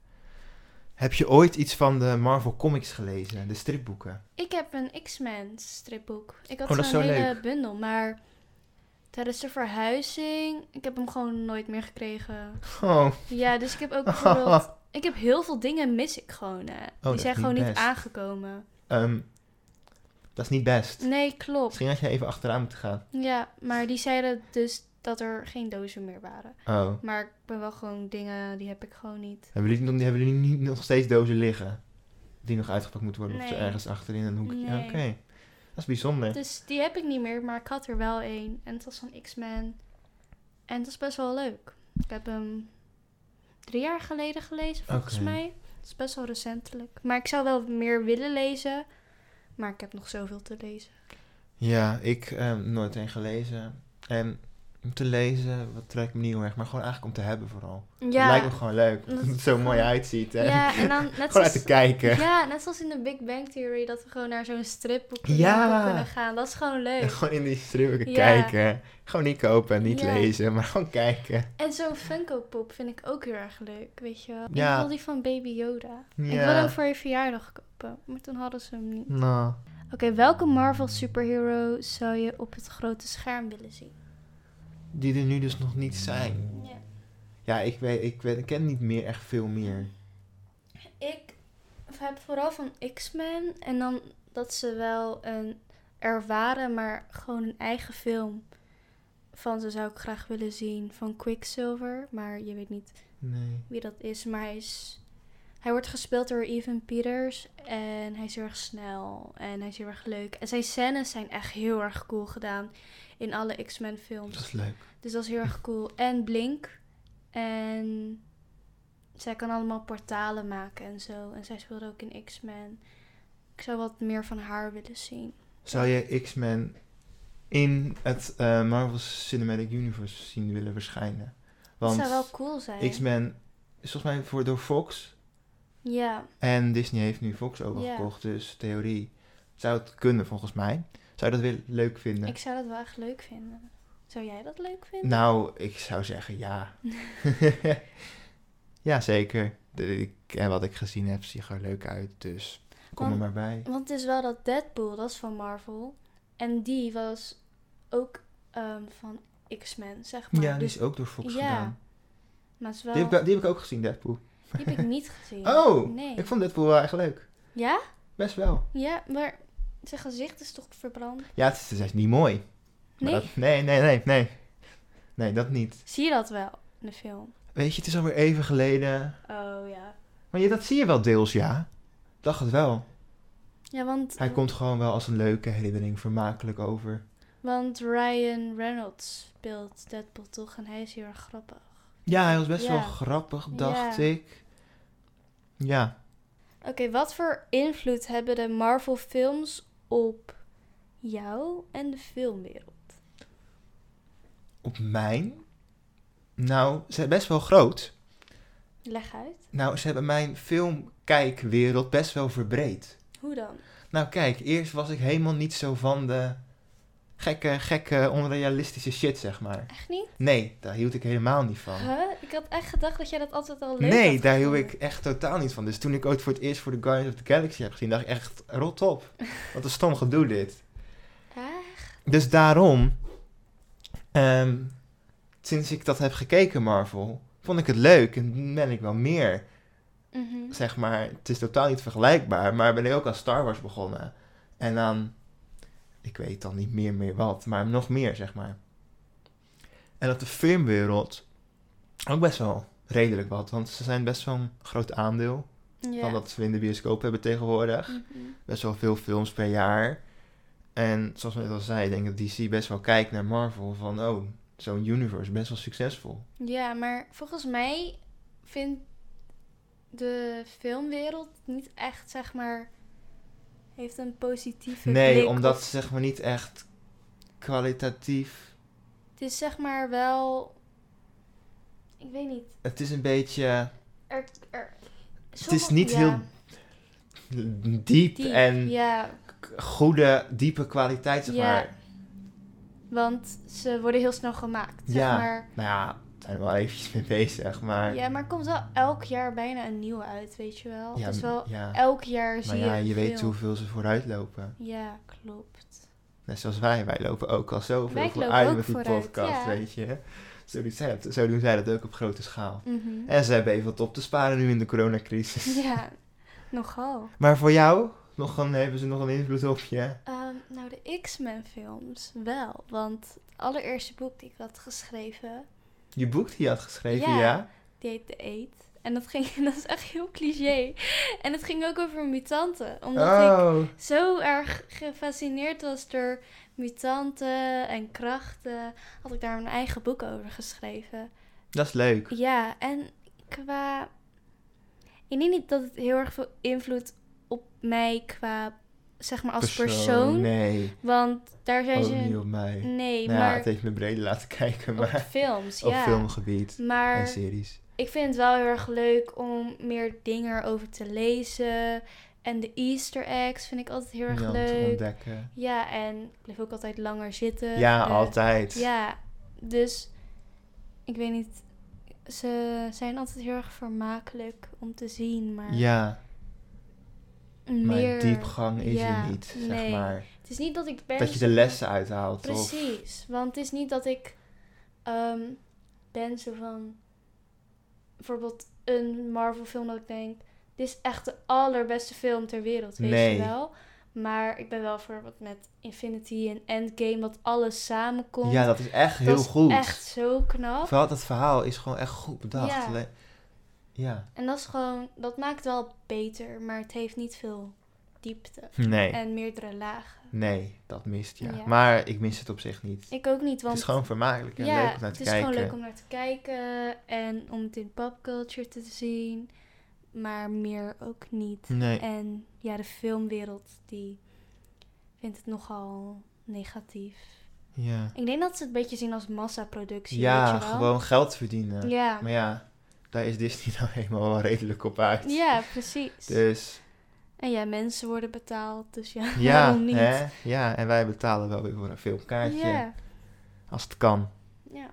Speaker 1: Heb je ooit iets van de Marvel Comics gelezen? De stripboeken?
Speaker 2: Ik heb een X-Men stripboek. Ik had
Speaker 1: Oh, dat is
Speaker 2: zo'n
Speaker 1: zo
Speaker 2: hele
Speaker 1: leuk.
Speaker 2: bundel, maar tijdens de verhuizing, ik heb hem gewoon nooit meer gekregen.
Speaker 1: Oh,
Speaker 2: Ja, dus ik heb ook bijvoorbeeld... Ik heb heel veel dingen mis ik gewoon. Hè.
Speaker 1: Oh, dat
Speaker 2: Die
Speaker 1: is
Speaker 2: zijn gewoon
Speaker 1: niet
Speaker 2: niet,
Speaker 1: best.
Speaker 2: aangekomen.
Speaker 1: ehm, dat is niet best.
Speaker 2: Nee, klopt.
Speaker 1: Misschien had je even achteraan moeten gaan.
Speaker 2: Ja, maar die zeiden dus dat er geen dozen meer waren.
Speaker 1: Oh.
Speaker 2: Maar ik ben wel gewoon dingen, die heb ik gewoon niet.
Speaker 1: Hebben jullie, hebben jullie niet nog steeds dozen liggen? Die nog uitgepakt moeten worden? Of zo
Speaker 2: Nee.
Speaker 1: ergens achterin een hoekje? Ja,
Speaker 2: Nee.
Speaker 1: Oké. Dat is bijzonder.
Speaker 2: Dus die heb ik niet meer, maar ik had er wel één. En het was van X-Men. En het was best wel leuk. Ik heb hem drie jaar geleden gelezen, volgens
Speaker 1: Oké.
Speaker 2: mij. Het is best wel recentelijk. Maar ik zou wel meer willen lezen. Maar ik heb nog zoveel te lezen.
Speaker 1: Ja, ik ehm, nooit één gelezen. En om te lezen, wat trekt me niet heel erg, maar gewoon eigenlijk om te hebben vooral.
Speaker 2: Ja.
Speaker 1: Lijkt me gewoon leuk,
Speaker 2: Dat
Speaker 1: omdat het
Speaker 2: is
Speaker 1: zo mooi
Speaker 2: gewoon-
Speaker 1: uitziet. Hè?
Speaker 2: Ja, en dan net
Speaker 1: gewoon uit
Speaker 2: zoals,
Speaker 1: te kijken.
Speaker 2: ja, net zoals in de Big Bang Theory, dat we gewoon naar zo'n stripboek
Speaker 1: Ja.
Speaker 2: kunnen gaan. Dat is gewoon
Speaker 1: En
Speaker 2: leuk.
Speaker 1: gewoon in die stripboeken
Speaker 2: Ja.
Speaker 1: kijken. Gewoon niet kopen en niet
Speaker 2: Ja.
Speaker 1: lezen, maar gewoon kijken.
Speaker 2: En zo'n Funko Pop vind ik ook heel erg leuk, weet je wel.
Speaker 1: Ja.
Speaker 2: Ik wil die van Baby Yoda. Ik
Speaker 1: Ja.
Speaker 2: wilde hem voor je verjaardag kopen, maar toen hadden ze hem niet.
Speaker 1: Nou,
Speaker 2: Oké, welke Marvel superhero zou je op het grote scherm willen zien?
Speaker 1: die er nu dus nog niet zijn.
Speaker 2: Ja.
Speaker 1: Ja, ik, weet, ik, weet, ik ken niet meer echt veel meer.
Speaker 2: Ik heb vooral van X-Men en dan dat ze wel een er waren, maar gewoon een eigen film van ze zou ik graag willen zien van Quicksilver, maar je weet niet
Speaker 1: Nee.
Speaker 2: wie dat is, maar hij is hij wordt gespeeld door Evan Peters en hij is heel erg snel en hij is heel erg leuk en zijn scènes zijn echt heel erg cool gedaan in alle X-Men
Speaker 1: Dat
Speaker 2: films.
Speaker 1: is leuk.
Speaker 2: Dus dat is heel erg cool. En Blink. En zij kan allemaal portalen maken en zo. En zij speelde ook in X-Men. Ik zou wat meer van haar willen zien.
Speaker 1: Zou je X-Men in het eh, Marvel Cinematic Universe zien willen verschijnen?
Speaker 2: Dat
Speaker 1: Want
Speaker 2: zou wel cool zijn.
Speaker 1: X-Men is volgens mij voor, door Fox.
Speaker 2: Ja.
Speaker 1: En Disney heeft nu Fox ook al
Speaker 2: Ja.
Speaker 1: gekocht. Dus theorie zou het kunnen volgens mij. Zou je dat weer leuk vinden?
Speaker 2: Ik zou dat wel echt leuk vinden. Zou jij dat leuk vinden?
Speaker 1: Nou, ik zou zeggen ja. ja, zeker. De- ik- en wat ik gezien heb, ziet er leuk uit. Dus kom er
Speaker 2: Want-
Speaker 1: maar bij.
Speaker 2: Want het is wel dat Deadpool, dat is van Marvel. En die was ook ehm, van X-Men, zeg maar.
Speaker 1: Ja, die
Speaker 2: dus,
Speaker 1: is ook door Fox
Speaker 2: Ja,
Speaker 1: gedaan.
Speaker 2: maar het is wel,
Speaker 1: Die heb, ik, die heb ik ook gezien, Deadpool.
Speaker 2: die heb ik niet gezien.
Speaker 1: Oh,
Speaker 2: Nee.
Speaker 1: ik vond Deadpool wel echt leuk.
Speaker 2: Ja?
Speaker 1: Best wel.
Speaker 2: Ja, maar zijn gezicht is toch verbrand?
Speaker 1: Ja, het is, het is niet mooi. Maar
Speaker 2: Nee?
Speaker 1: dat- nee, nee, nee, nee. Nee, dat niet.
Speaker 2: Zie je dat wel in de film?
Speaker 1: Weet je, het is alweer even geleden.
Speaker 2: Oh ja.
Speaker 1: Maar ja, dat zie je wel deels, ja. Ik Dacht het wel.
Speaker 2: Ja, want,
Speaker 1: Hij komt gewoon wel als een leuke herinnering vermakelijk over.
Speaker 2: want Ryan Reynolds speelt Deadpool toch en hij is heel erg grappig.
Speaker 1: Ja, hij was best
Speaker 2: Ja.
Speaker 1: wel grappig, dacht
Speaker 2: Ja.
Speaker 1: ik. Ja.
Speaker 2: Oké, wat voor invloed hebben de Marvel films op jou en de filmwereld?
Speaker 1: Op mijn? Nou, ze zijn best wel groot.
Speaker 2: Leg uit.
Speaker 1: Nou, ze hebben mijn filmkijkwereld best wel verbreed.
Speaker 2: Hoe dan?
Speaker 1: Nou kijk, eerst was ik helemaal niet zo van de gekke, gekke, onrealistische shit, zeg maar.
Speaker 2: Echt niet?
Speaker 1: Nee, daar hield ik helemaal niet van.
Speaker 2: Huh? Ik had echt gedacht dat jij dat altijd al leuk
Speaker 1: Nee,
Speaker 2: had
Speaker 1: daar hield ik
Speaker 2: gevonden.
Speaker 1: echt totaal niet van. Dus toen ik ooit voor het eerst voor de Guardians of the Galaxy heb gezien, dacht ik echt, rot op. Wat een stom gedoe dit.
Speaker 2: Echt?
Speaker 1: Dus daarom, ehm, sinds ik dat heb gekeken, Marvel, vond ik het leuk en ben ik wel meer.
Speaker 2: Mhm.
Speaker 1: Zeg maar, het is totaal niet vergelijkbaar, maar ben ik ook aan Star Wars begonnen. En aan, ik weet dan niet meer meer wat, maar nog meer, zeg maar. En op de filmwereld ook best wel redelijk wat, want ze zijn best wel een groot aandeel
Speaker 2: Ja.
Speaker 1: van dat we in de bioscoop hebben tegenwoordig.
Speaker 2: Mhm.
Speaker 1: Best wel veel films per jaar. En zoals we net al zei, denk ik dat DC best wel kijkt naar Marvel van, oh, zo'n universe, best wel succesvol.
Speaker 2: Ja, maar volgens mij vindt de filmwereld niet echt, zeg maar, heeft een positieve
Speaker 1: Nee,
Speaker 2: blik
Speaker 1: omdat
Speaker 2: op-
Speaker 1: ze zeg maar niet echt kwalitatief...
Speaker 2: Het is zeg maar wel... Ik weet niet.
Speaker 1: Het is een beetje
Speaker 2: Er, er,
Speaker 1: is niet heel diep,
Speaker 2: diep,
Speaker 1: en
Speaker 2: Ja,
Speaker 1: k- goede, diepe kwaliteit, zeg
Speaker 2: Ja.
Speaker 1: maar.
Speaker 2: want ze worden heel snel gemaakt, zeg
Speaker 1: Ja.
Speaker 2: maar.
Speaker 1: Nou ja, we zijn er wel eventjes mee bezig, maar...
Speaker 2: Ja, maar er komt wel elk jaar bijna een nieuwe uit, weet je wel.
Speaker 1: ja,
Speaker 2: het is wel...
Speaker 1: ja.
Speaker 2: Elk jaar zie
Speaker 1: Maar ja,
Speaker 2: je een
Speaker 1: je weet
Speaker 2: film.
Speaker 1: hoeveel ze vooruit lopen.
Speaker 2: Ja, klopt.
Speaker 1: Net zoals wij, wij lopen ook al zoveel
Speaker 2: Wij lopen
Speaker 1: vooruit
Speaker 2: ook
Speaker 1: met die
Speaker 2: vooruit,
Speaker 1: podcast,
Speaker 2: ja.
Speaker 1: weet je. Zo doen, zij dat, zo doen zij dat ook op grote schaal.
Speaker 2: Mhm.
Speaker 1: En ze hebben even wat op te sparen nu in de coronacrisis.
Speaker 2: Ja, nogal.
Speaker 1: Maar voor jou, nog een, hebben ze nog een invloed op je?
Speaker 2: Ehm, nou, de X-Men films wel. Want het allereerste boek die ik had geschreven,
Speaker 1: Je boek die je had geschreven, ja?
Speaker 2: Ja. die heet The Eet. En dat, ging, dat is echt heel cliché. En het ging ook over mutanten. Omdat ik
Speaker 1: Oh,
Speaker 2: zo erg gefascineerd was door mutanten en krachten, had ik daar mijn eigen boek over geschreven.
Speaker 1: dat is leuk.
Speaker 2: Ja, en qua. Ik denk niet dat het heel erg veel invloed op mij qua, zeg maar, als persoon.
Speaker 1: Nee, Oh,
Speaker 2: Want daar zijn
Speaker 1: ook
Speaker 2: ze.
Speaker 1: niet op mij.
Speaker 2: Nee,
Speaker 1: nou ja,
Speaker 2: maar
Speaker 1: het heeft me breder laten kijken,
Speaker 2: op
Speaker 1: maar
Speaker 2: films,
Speaker 1: op
Speaker 2: ja.
Speaker 1: filmgebied en
Speaker 2: Maar
Speaker 1: series.
Speaker 2: ik vind het wel heel erg leuk om meer dingen erover te lezen. En de easter eggs vind ik altijd heel erg
Speaker 1: Ja, om te
Speaker 2: leuk.
Speaker 1: ontdekken.
Speaker 2: Ja, en ik blijf ook altijd langer zitten.
Speaker 1: ja,
Speaker 2: Eh,
Speaker 1: altijd.
Speaker 2: Ja, dus ik weet niet. Ze zijn altijd heel erg vermakelijk om te zien, maar
Speaker 1: Ja, maar
Speaker 2: meer...
Speaker 1: diepgang is
Speaker 2: ja,
Speaker 1: er niet, zeg
Speaker 2: nee.
Speaker 1: maar.
Speaker 2: Het is niet dat ik ben...
Speaker 1: Dat je de lessen uithaalt. Of,
Speaker 2: Precies, want het is niet dat ik ehm, ben zo van bijvoorbeeld een Marvel film dat ik denk, dit is echt de allerbeste film ter wereld, weet
Speaker 1: Nee.
Speaker 2: je wel. Maar ik ben wel voor wat met Infinity en Endgame, dat alles samenkomt.
Speaker 1: ja, dat is echt
Speaker 2: Dat
Speaker 1: heel
Speaker 2: is
Speaker 1: goed.
Speaker 2: echt zo knap.
Speaker 1: Vooral dat verhaal is gewoon echt goed bedacht.
Speaker 2: Ja.
Speaker 1: Alleen- ja.
Speaker 2: En dat is gewoon, dat maakt wel beter, maar het heeft niet veel diepte
Speaker 1: Nee,
Speaker 2: en meerdere lagen.
Speaker 1: nee, dat mist ja.
Speaker 2: Eh, Ja.
Speaker 1: Maar ik mis het op zich niet.
Speaker 2: Ik ook niet,
Speaker 1: het
Speaker 2: want
Speaker 1: is gewoon vermakelijk en
Speaker 2: ja,
Speaker 1: leuk om naar
Speaker 2: het
Speaker 1: te
Speaker 2: is
Speaker 1: kijken.
Speaker 2: gewoon leuk om naar te kijken en om het in popculture te zien, maar meer ook niet.
Speaker 1: Nee,
Speaker 2: En ja, de filmwereld die vindt het nogal negatief.
Speaker 1: ja.
Speaker 2: Ik denk dat ze het een beetje zien als massaproductie,
Speaker 1: Ja,
Speaker 2: weet je wel?
Speaker 1: gewoon geld verdienen.
Speaker 2: Ja.
Speaker 1: Maar ja, daar is Disney nou helemaal wel redelijk op uit.
Speaker 2: ja, precies.
Speaker 1: Dus
Speaker 2: En ja, mensen worden betaald, dus ja,
Speaker 1: ja,
Speaker 2: waarom niet?
Speaker 1: hè? ja, en wij betalen wel weer voor een filmkaartje.
Speaker 2: Ja,
Speaker 1: Als het kan.
Speaker 2: Ja.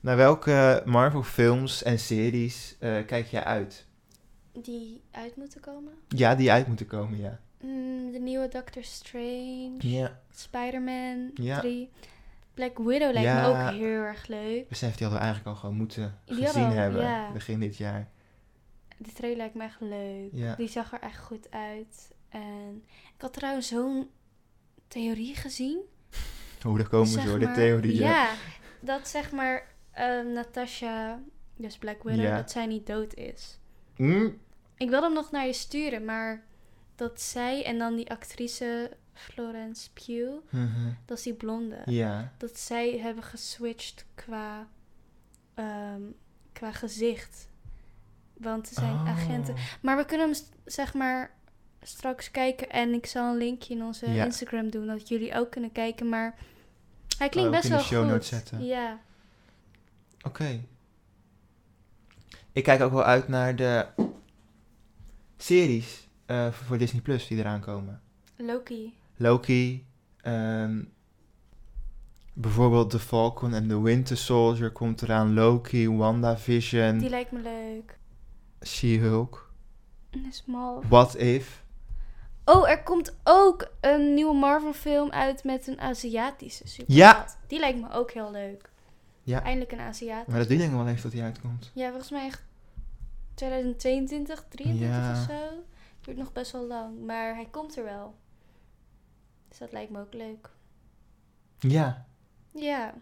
Speaker 1: Naar welke Marvel films en series eh, kijk jij uit?
Speaker 2: Die uit moeten komen.
Speaker 1: Ja, die uit moeten komen, ja.
Speaker 2: Mm, de nieuwe Doctor Strange.
Speaker 1: Ja.
Speaker 2: Spider-Man
Speaker 1: Ja.
Speaker 2: 3. Black Widow lijkt me
Speaker 1: Ja.
Speaker 2: ook heel erg leuk.
Speaker 1: Besef, die hadden we eigenlijk al gewoon moeten
Speaker 2: Die hadden
Speaker 1: gezien
Speaker 2: we al,
Speaker 1: hebben.
Speaker 2: ja.
Speaker 1: Begin dit jaar.
Speaker 2: Die trailer lijkt me echt leuk.
Speaker 1: Ja.
Speaker 2: Die zag er echt goed uit. En ik had trouwens zo'n theorie gezien.
Speaker 1: Hoe daar komen
Speaker 2: Zeg
Speaker 1: ze hoor, de
Speaker 2: maar-
Speaker 1: Oh, theorieën.
Speaker 2: Ja, dat zeg maar ehm Natasha, dus Black Widow,
Speaker 1: Ja.
Speaker 2: dat zij niet dood is.
Speaker 1: Mm,
Speaker 2: Ik wilde hem nog naar je sturen, maar dat zij en dan die actrice Florence Pugh,
Speaker 1: mhm.
Speaker 2: dat is die blonde,
Speaker 1: Ja.
Speaker 2: dat zij hebben geswitcht qua, ehm, qua gezicht. Want ze zijn
Speaker 1: Oh.
Speaker 2: agenten. Maar we kunnen hem st- zeg maar straks kijken. En ik zal een linkje in onze
Speaker 1: Ja.
Speaker 2: Instagram doen, dat jullie ook kunnen kijken. Maar hij
Speaker 1: ook
Speaker 2: klinkt best
Speaker 1: in de
Speaker 2: wel
Speaker 1: show
Speaker 2: goed.
Speaker 1: notes zetten.
Speaker 2: Ja.
Speaker 1: Oké. Ik kijk ook wel uit naar de series eh, voor Disney Plus die eraan komen.
Speaker 2: Loki.
Speaker 1: Loki, ehm, bijvoorbeeld The Falcon en The Winter Soldier komt eraan. Loki, WandaVision,
Speaker 2: Die lijkt me leuk.
Speaker 1: She-Hulk,
Speaker 2: Dat is mal.
Speaker 1: What If.
Speaker 2: Oh, er komt ook een nieuwe Marvel film uit met een Aziatische superheld. Die lijkt me ook heel leuk.
Speaker 1: Ja.
Speaker 2: Eindelijk een Aziat.
Speaker 1: Maar dat duurt denk ik wel even tot die uitkomt.
Speaker 2: Ja, volgens mij echt 2022, 23
Speaker 1: Ja.
Speaker 2: of zo. Duurt nog best wel lang, maar hij komt er wel. Dus dat lijkt me ook leuk.
Speaker 1: Ja.
Speaker 2: Ja.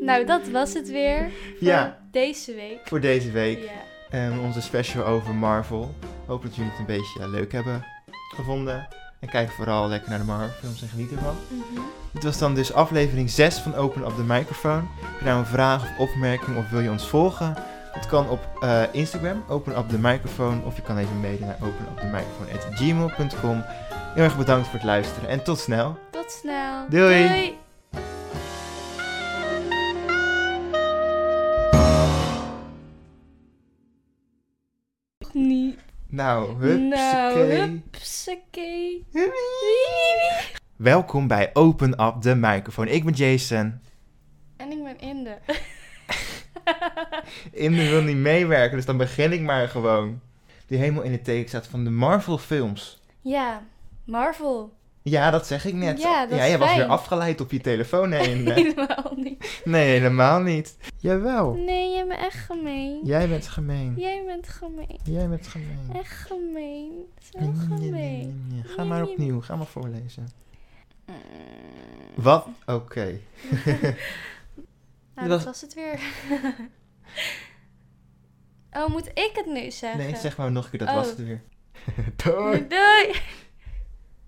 Speaker 2: Nou, dat was het weer voor
Speaker 1: Ja,
Speaker 2: deze week.
Speaker 1: voor deze week.
Speaker 2: Ja.
Speaker 1: Ehm, onze special over Marvel. Hoop dat jullie het een beetje eh, leuk hebben gevonden. En kijk vooral lekker naar de Marvel films en geniet ervan.
Speaker 2: Mhm.
Speaker 1: Dit was dan dus aflevering 6 van Open Up de Microphone. Heb je nou een vraag of opmerking of wil je ons volgen? Dat kan op eh, Instagram, Open Up de Microphone. Of je kan even mailen naar openupthemicrophone.gmail.com Heel erg bedankt voor het luisteren en tot snel.
Speaker 2: Tot snel.
Speaker 1: Doei.
Speaker 2: Doei. Niet.
Speaker 1: Nou, hupsakee.
Speaker 2: Nou, hupsakee.
Speaker 1: Welkom bij Open Up de Microphone. Ik ben Jason.
Speaker 2: En ik ben in de.
Speaker 1: Inder wil niet meewerken, dus dan begin ik maar gewoon. Die helemaal in het teken staat van de Marvel films.
Speaker 2: ja, Marvel.
Speaker 1: Ja, dat zeg ik net.
Speaker 2: Ja, dat
Speaker 1: ja
Speaker 2: is
Speaker 1: jij was
Speaker 2: fijn.
Speaker 1: weer afgeleid op je telefoon heen. hè?
Speaker 2: Helemaal niet.
Speaker 1: nee, helemaal niet. Jawel.
Speaker 2: Nee, jij bent echt gemeen.
Speaker 1: Jij bent gemeen.
Speaker 2: Jij bent gemeen.
Speaker 1: Jij bent gemeen.
Speaker 2: Echt gemeen. Zo
Speaker 1: Nee, nee, nee, nee,
Speaker 2: gemeen.
Speaker 1: nee. Ga maar opnieuw, ga maar voorlezen.
Speaker 2: Mm.
Speaker 1: Wat? Oké.
Speaker 2: Nou,
Speaker 1: Dat-
Speaker 2: dat was het weer. oh, moet ik het nu zeggen?
Speaker 1: Nee, zeg maar nog een keer, dat
Speaker 2: Oh.
Speaker 1: was het weer. Doei.
Speaker 2: Doei!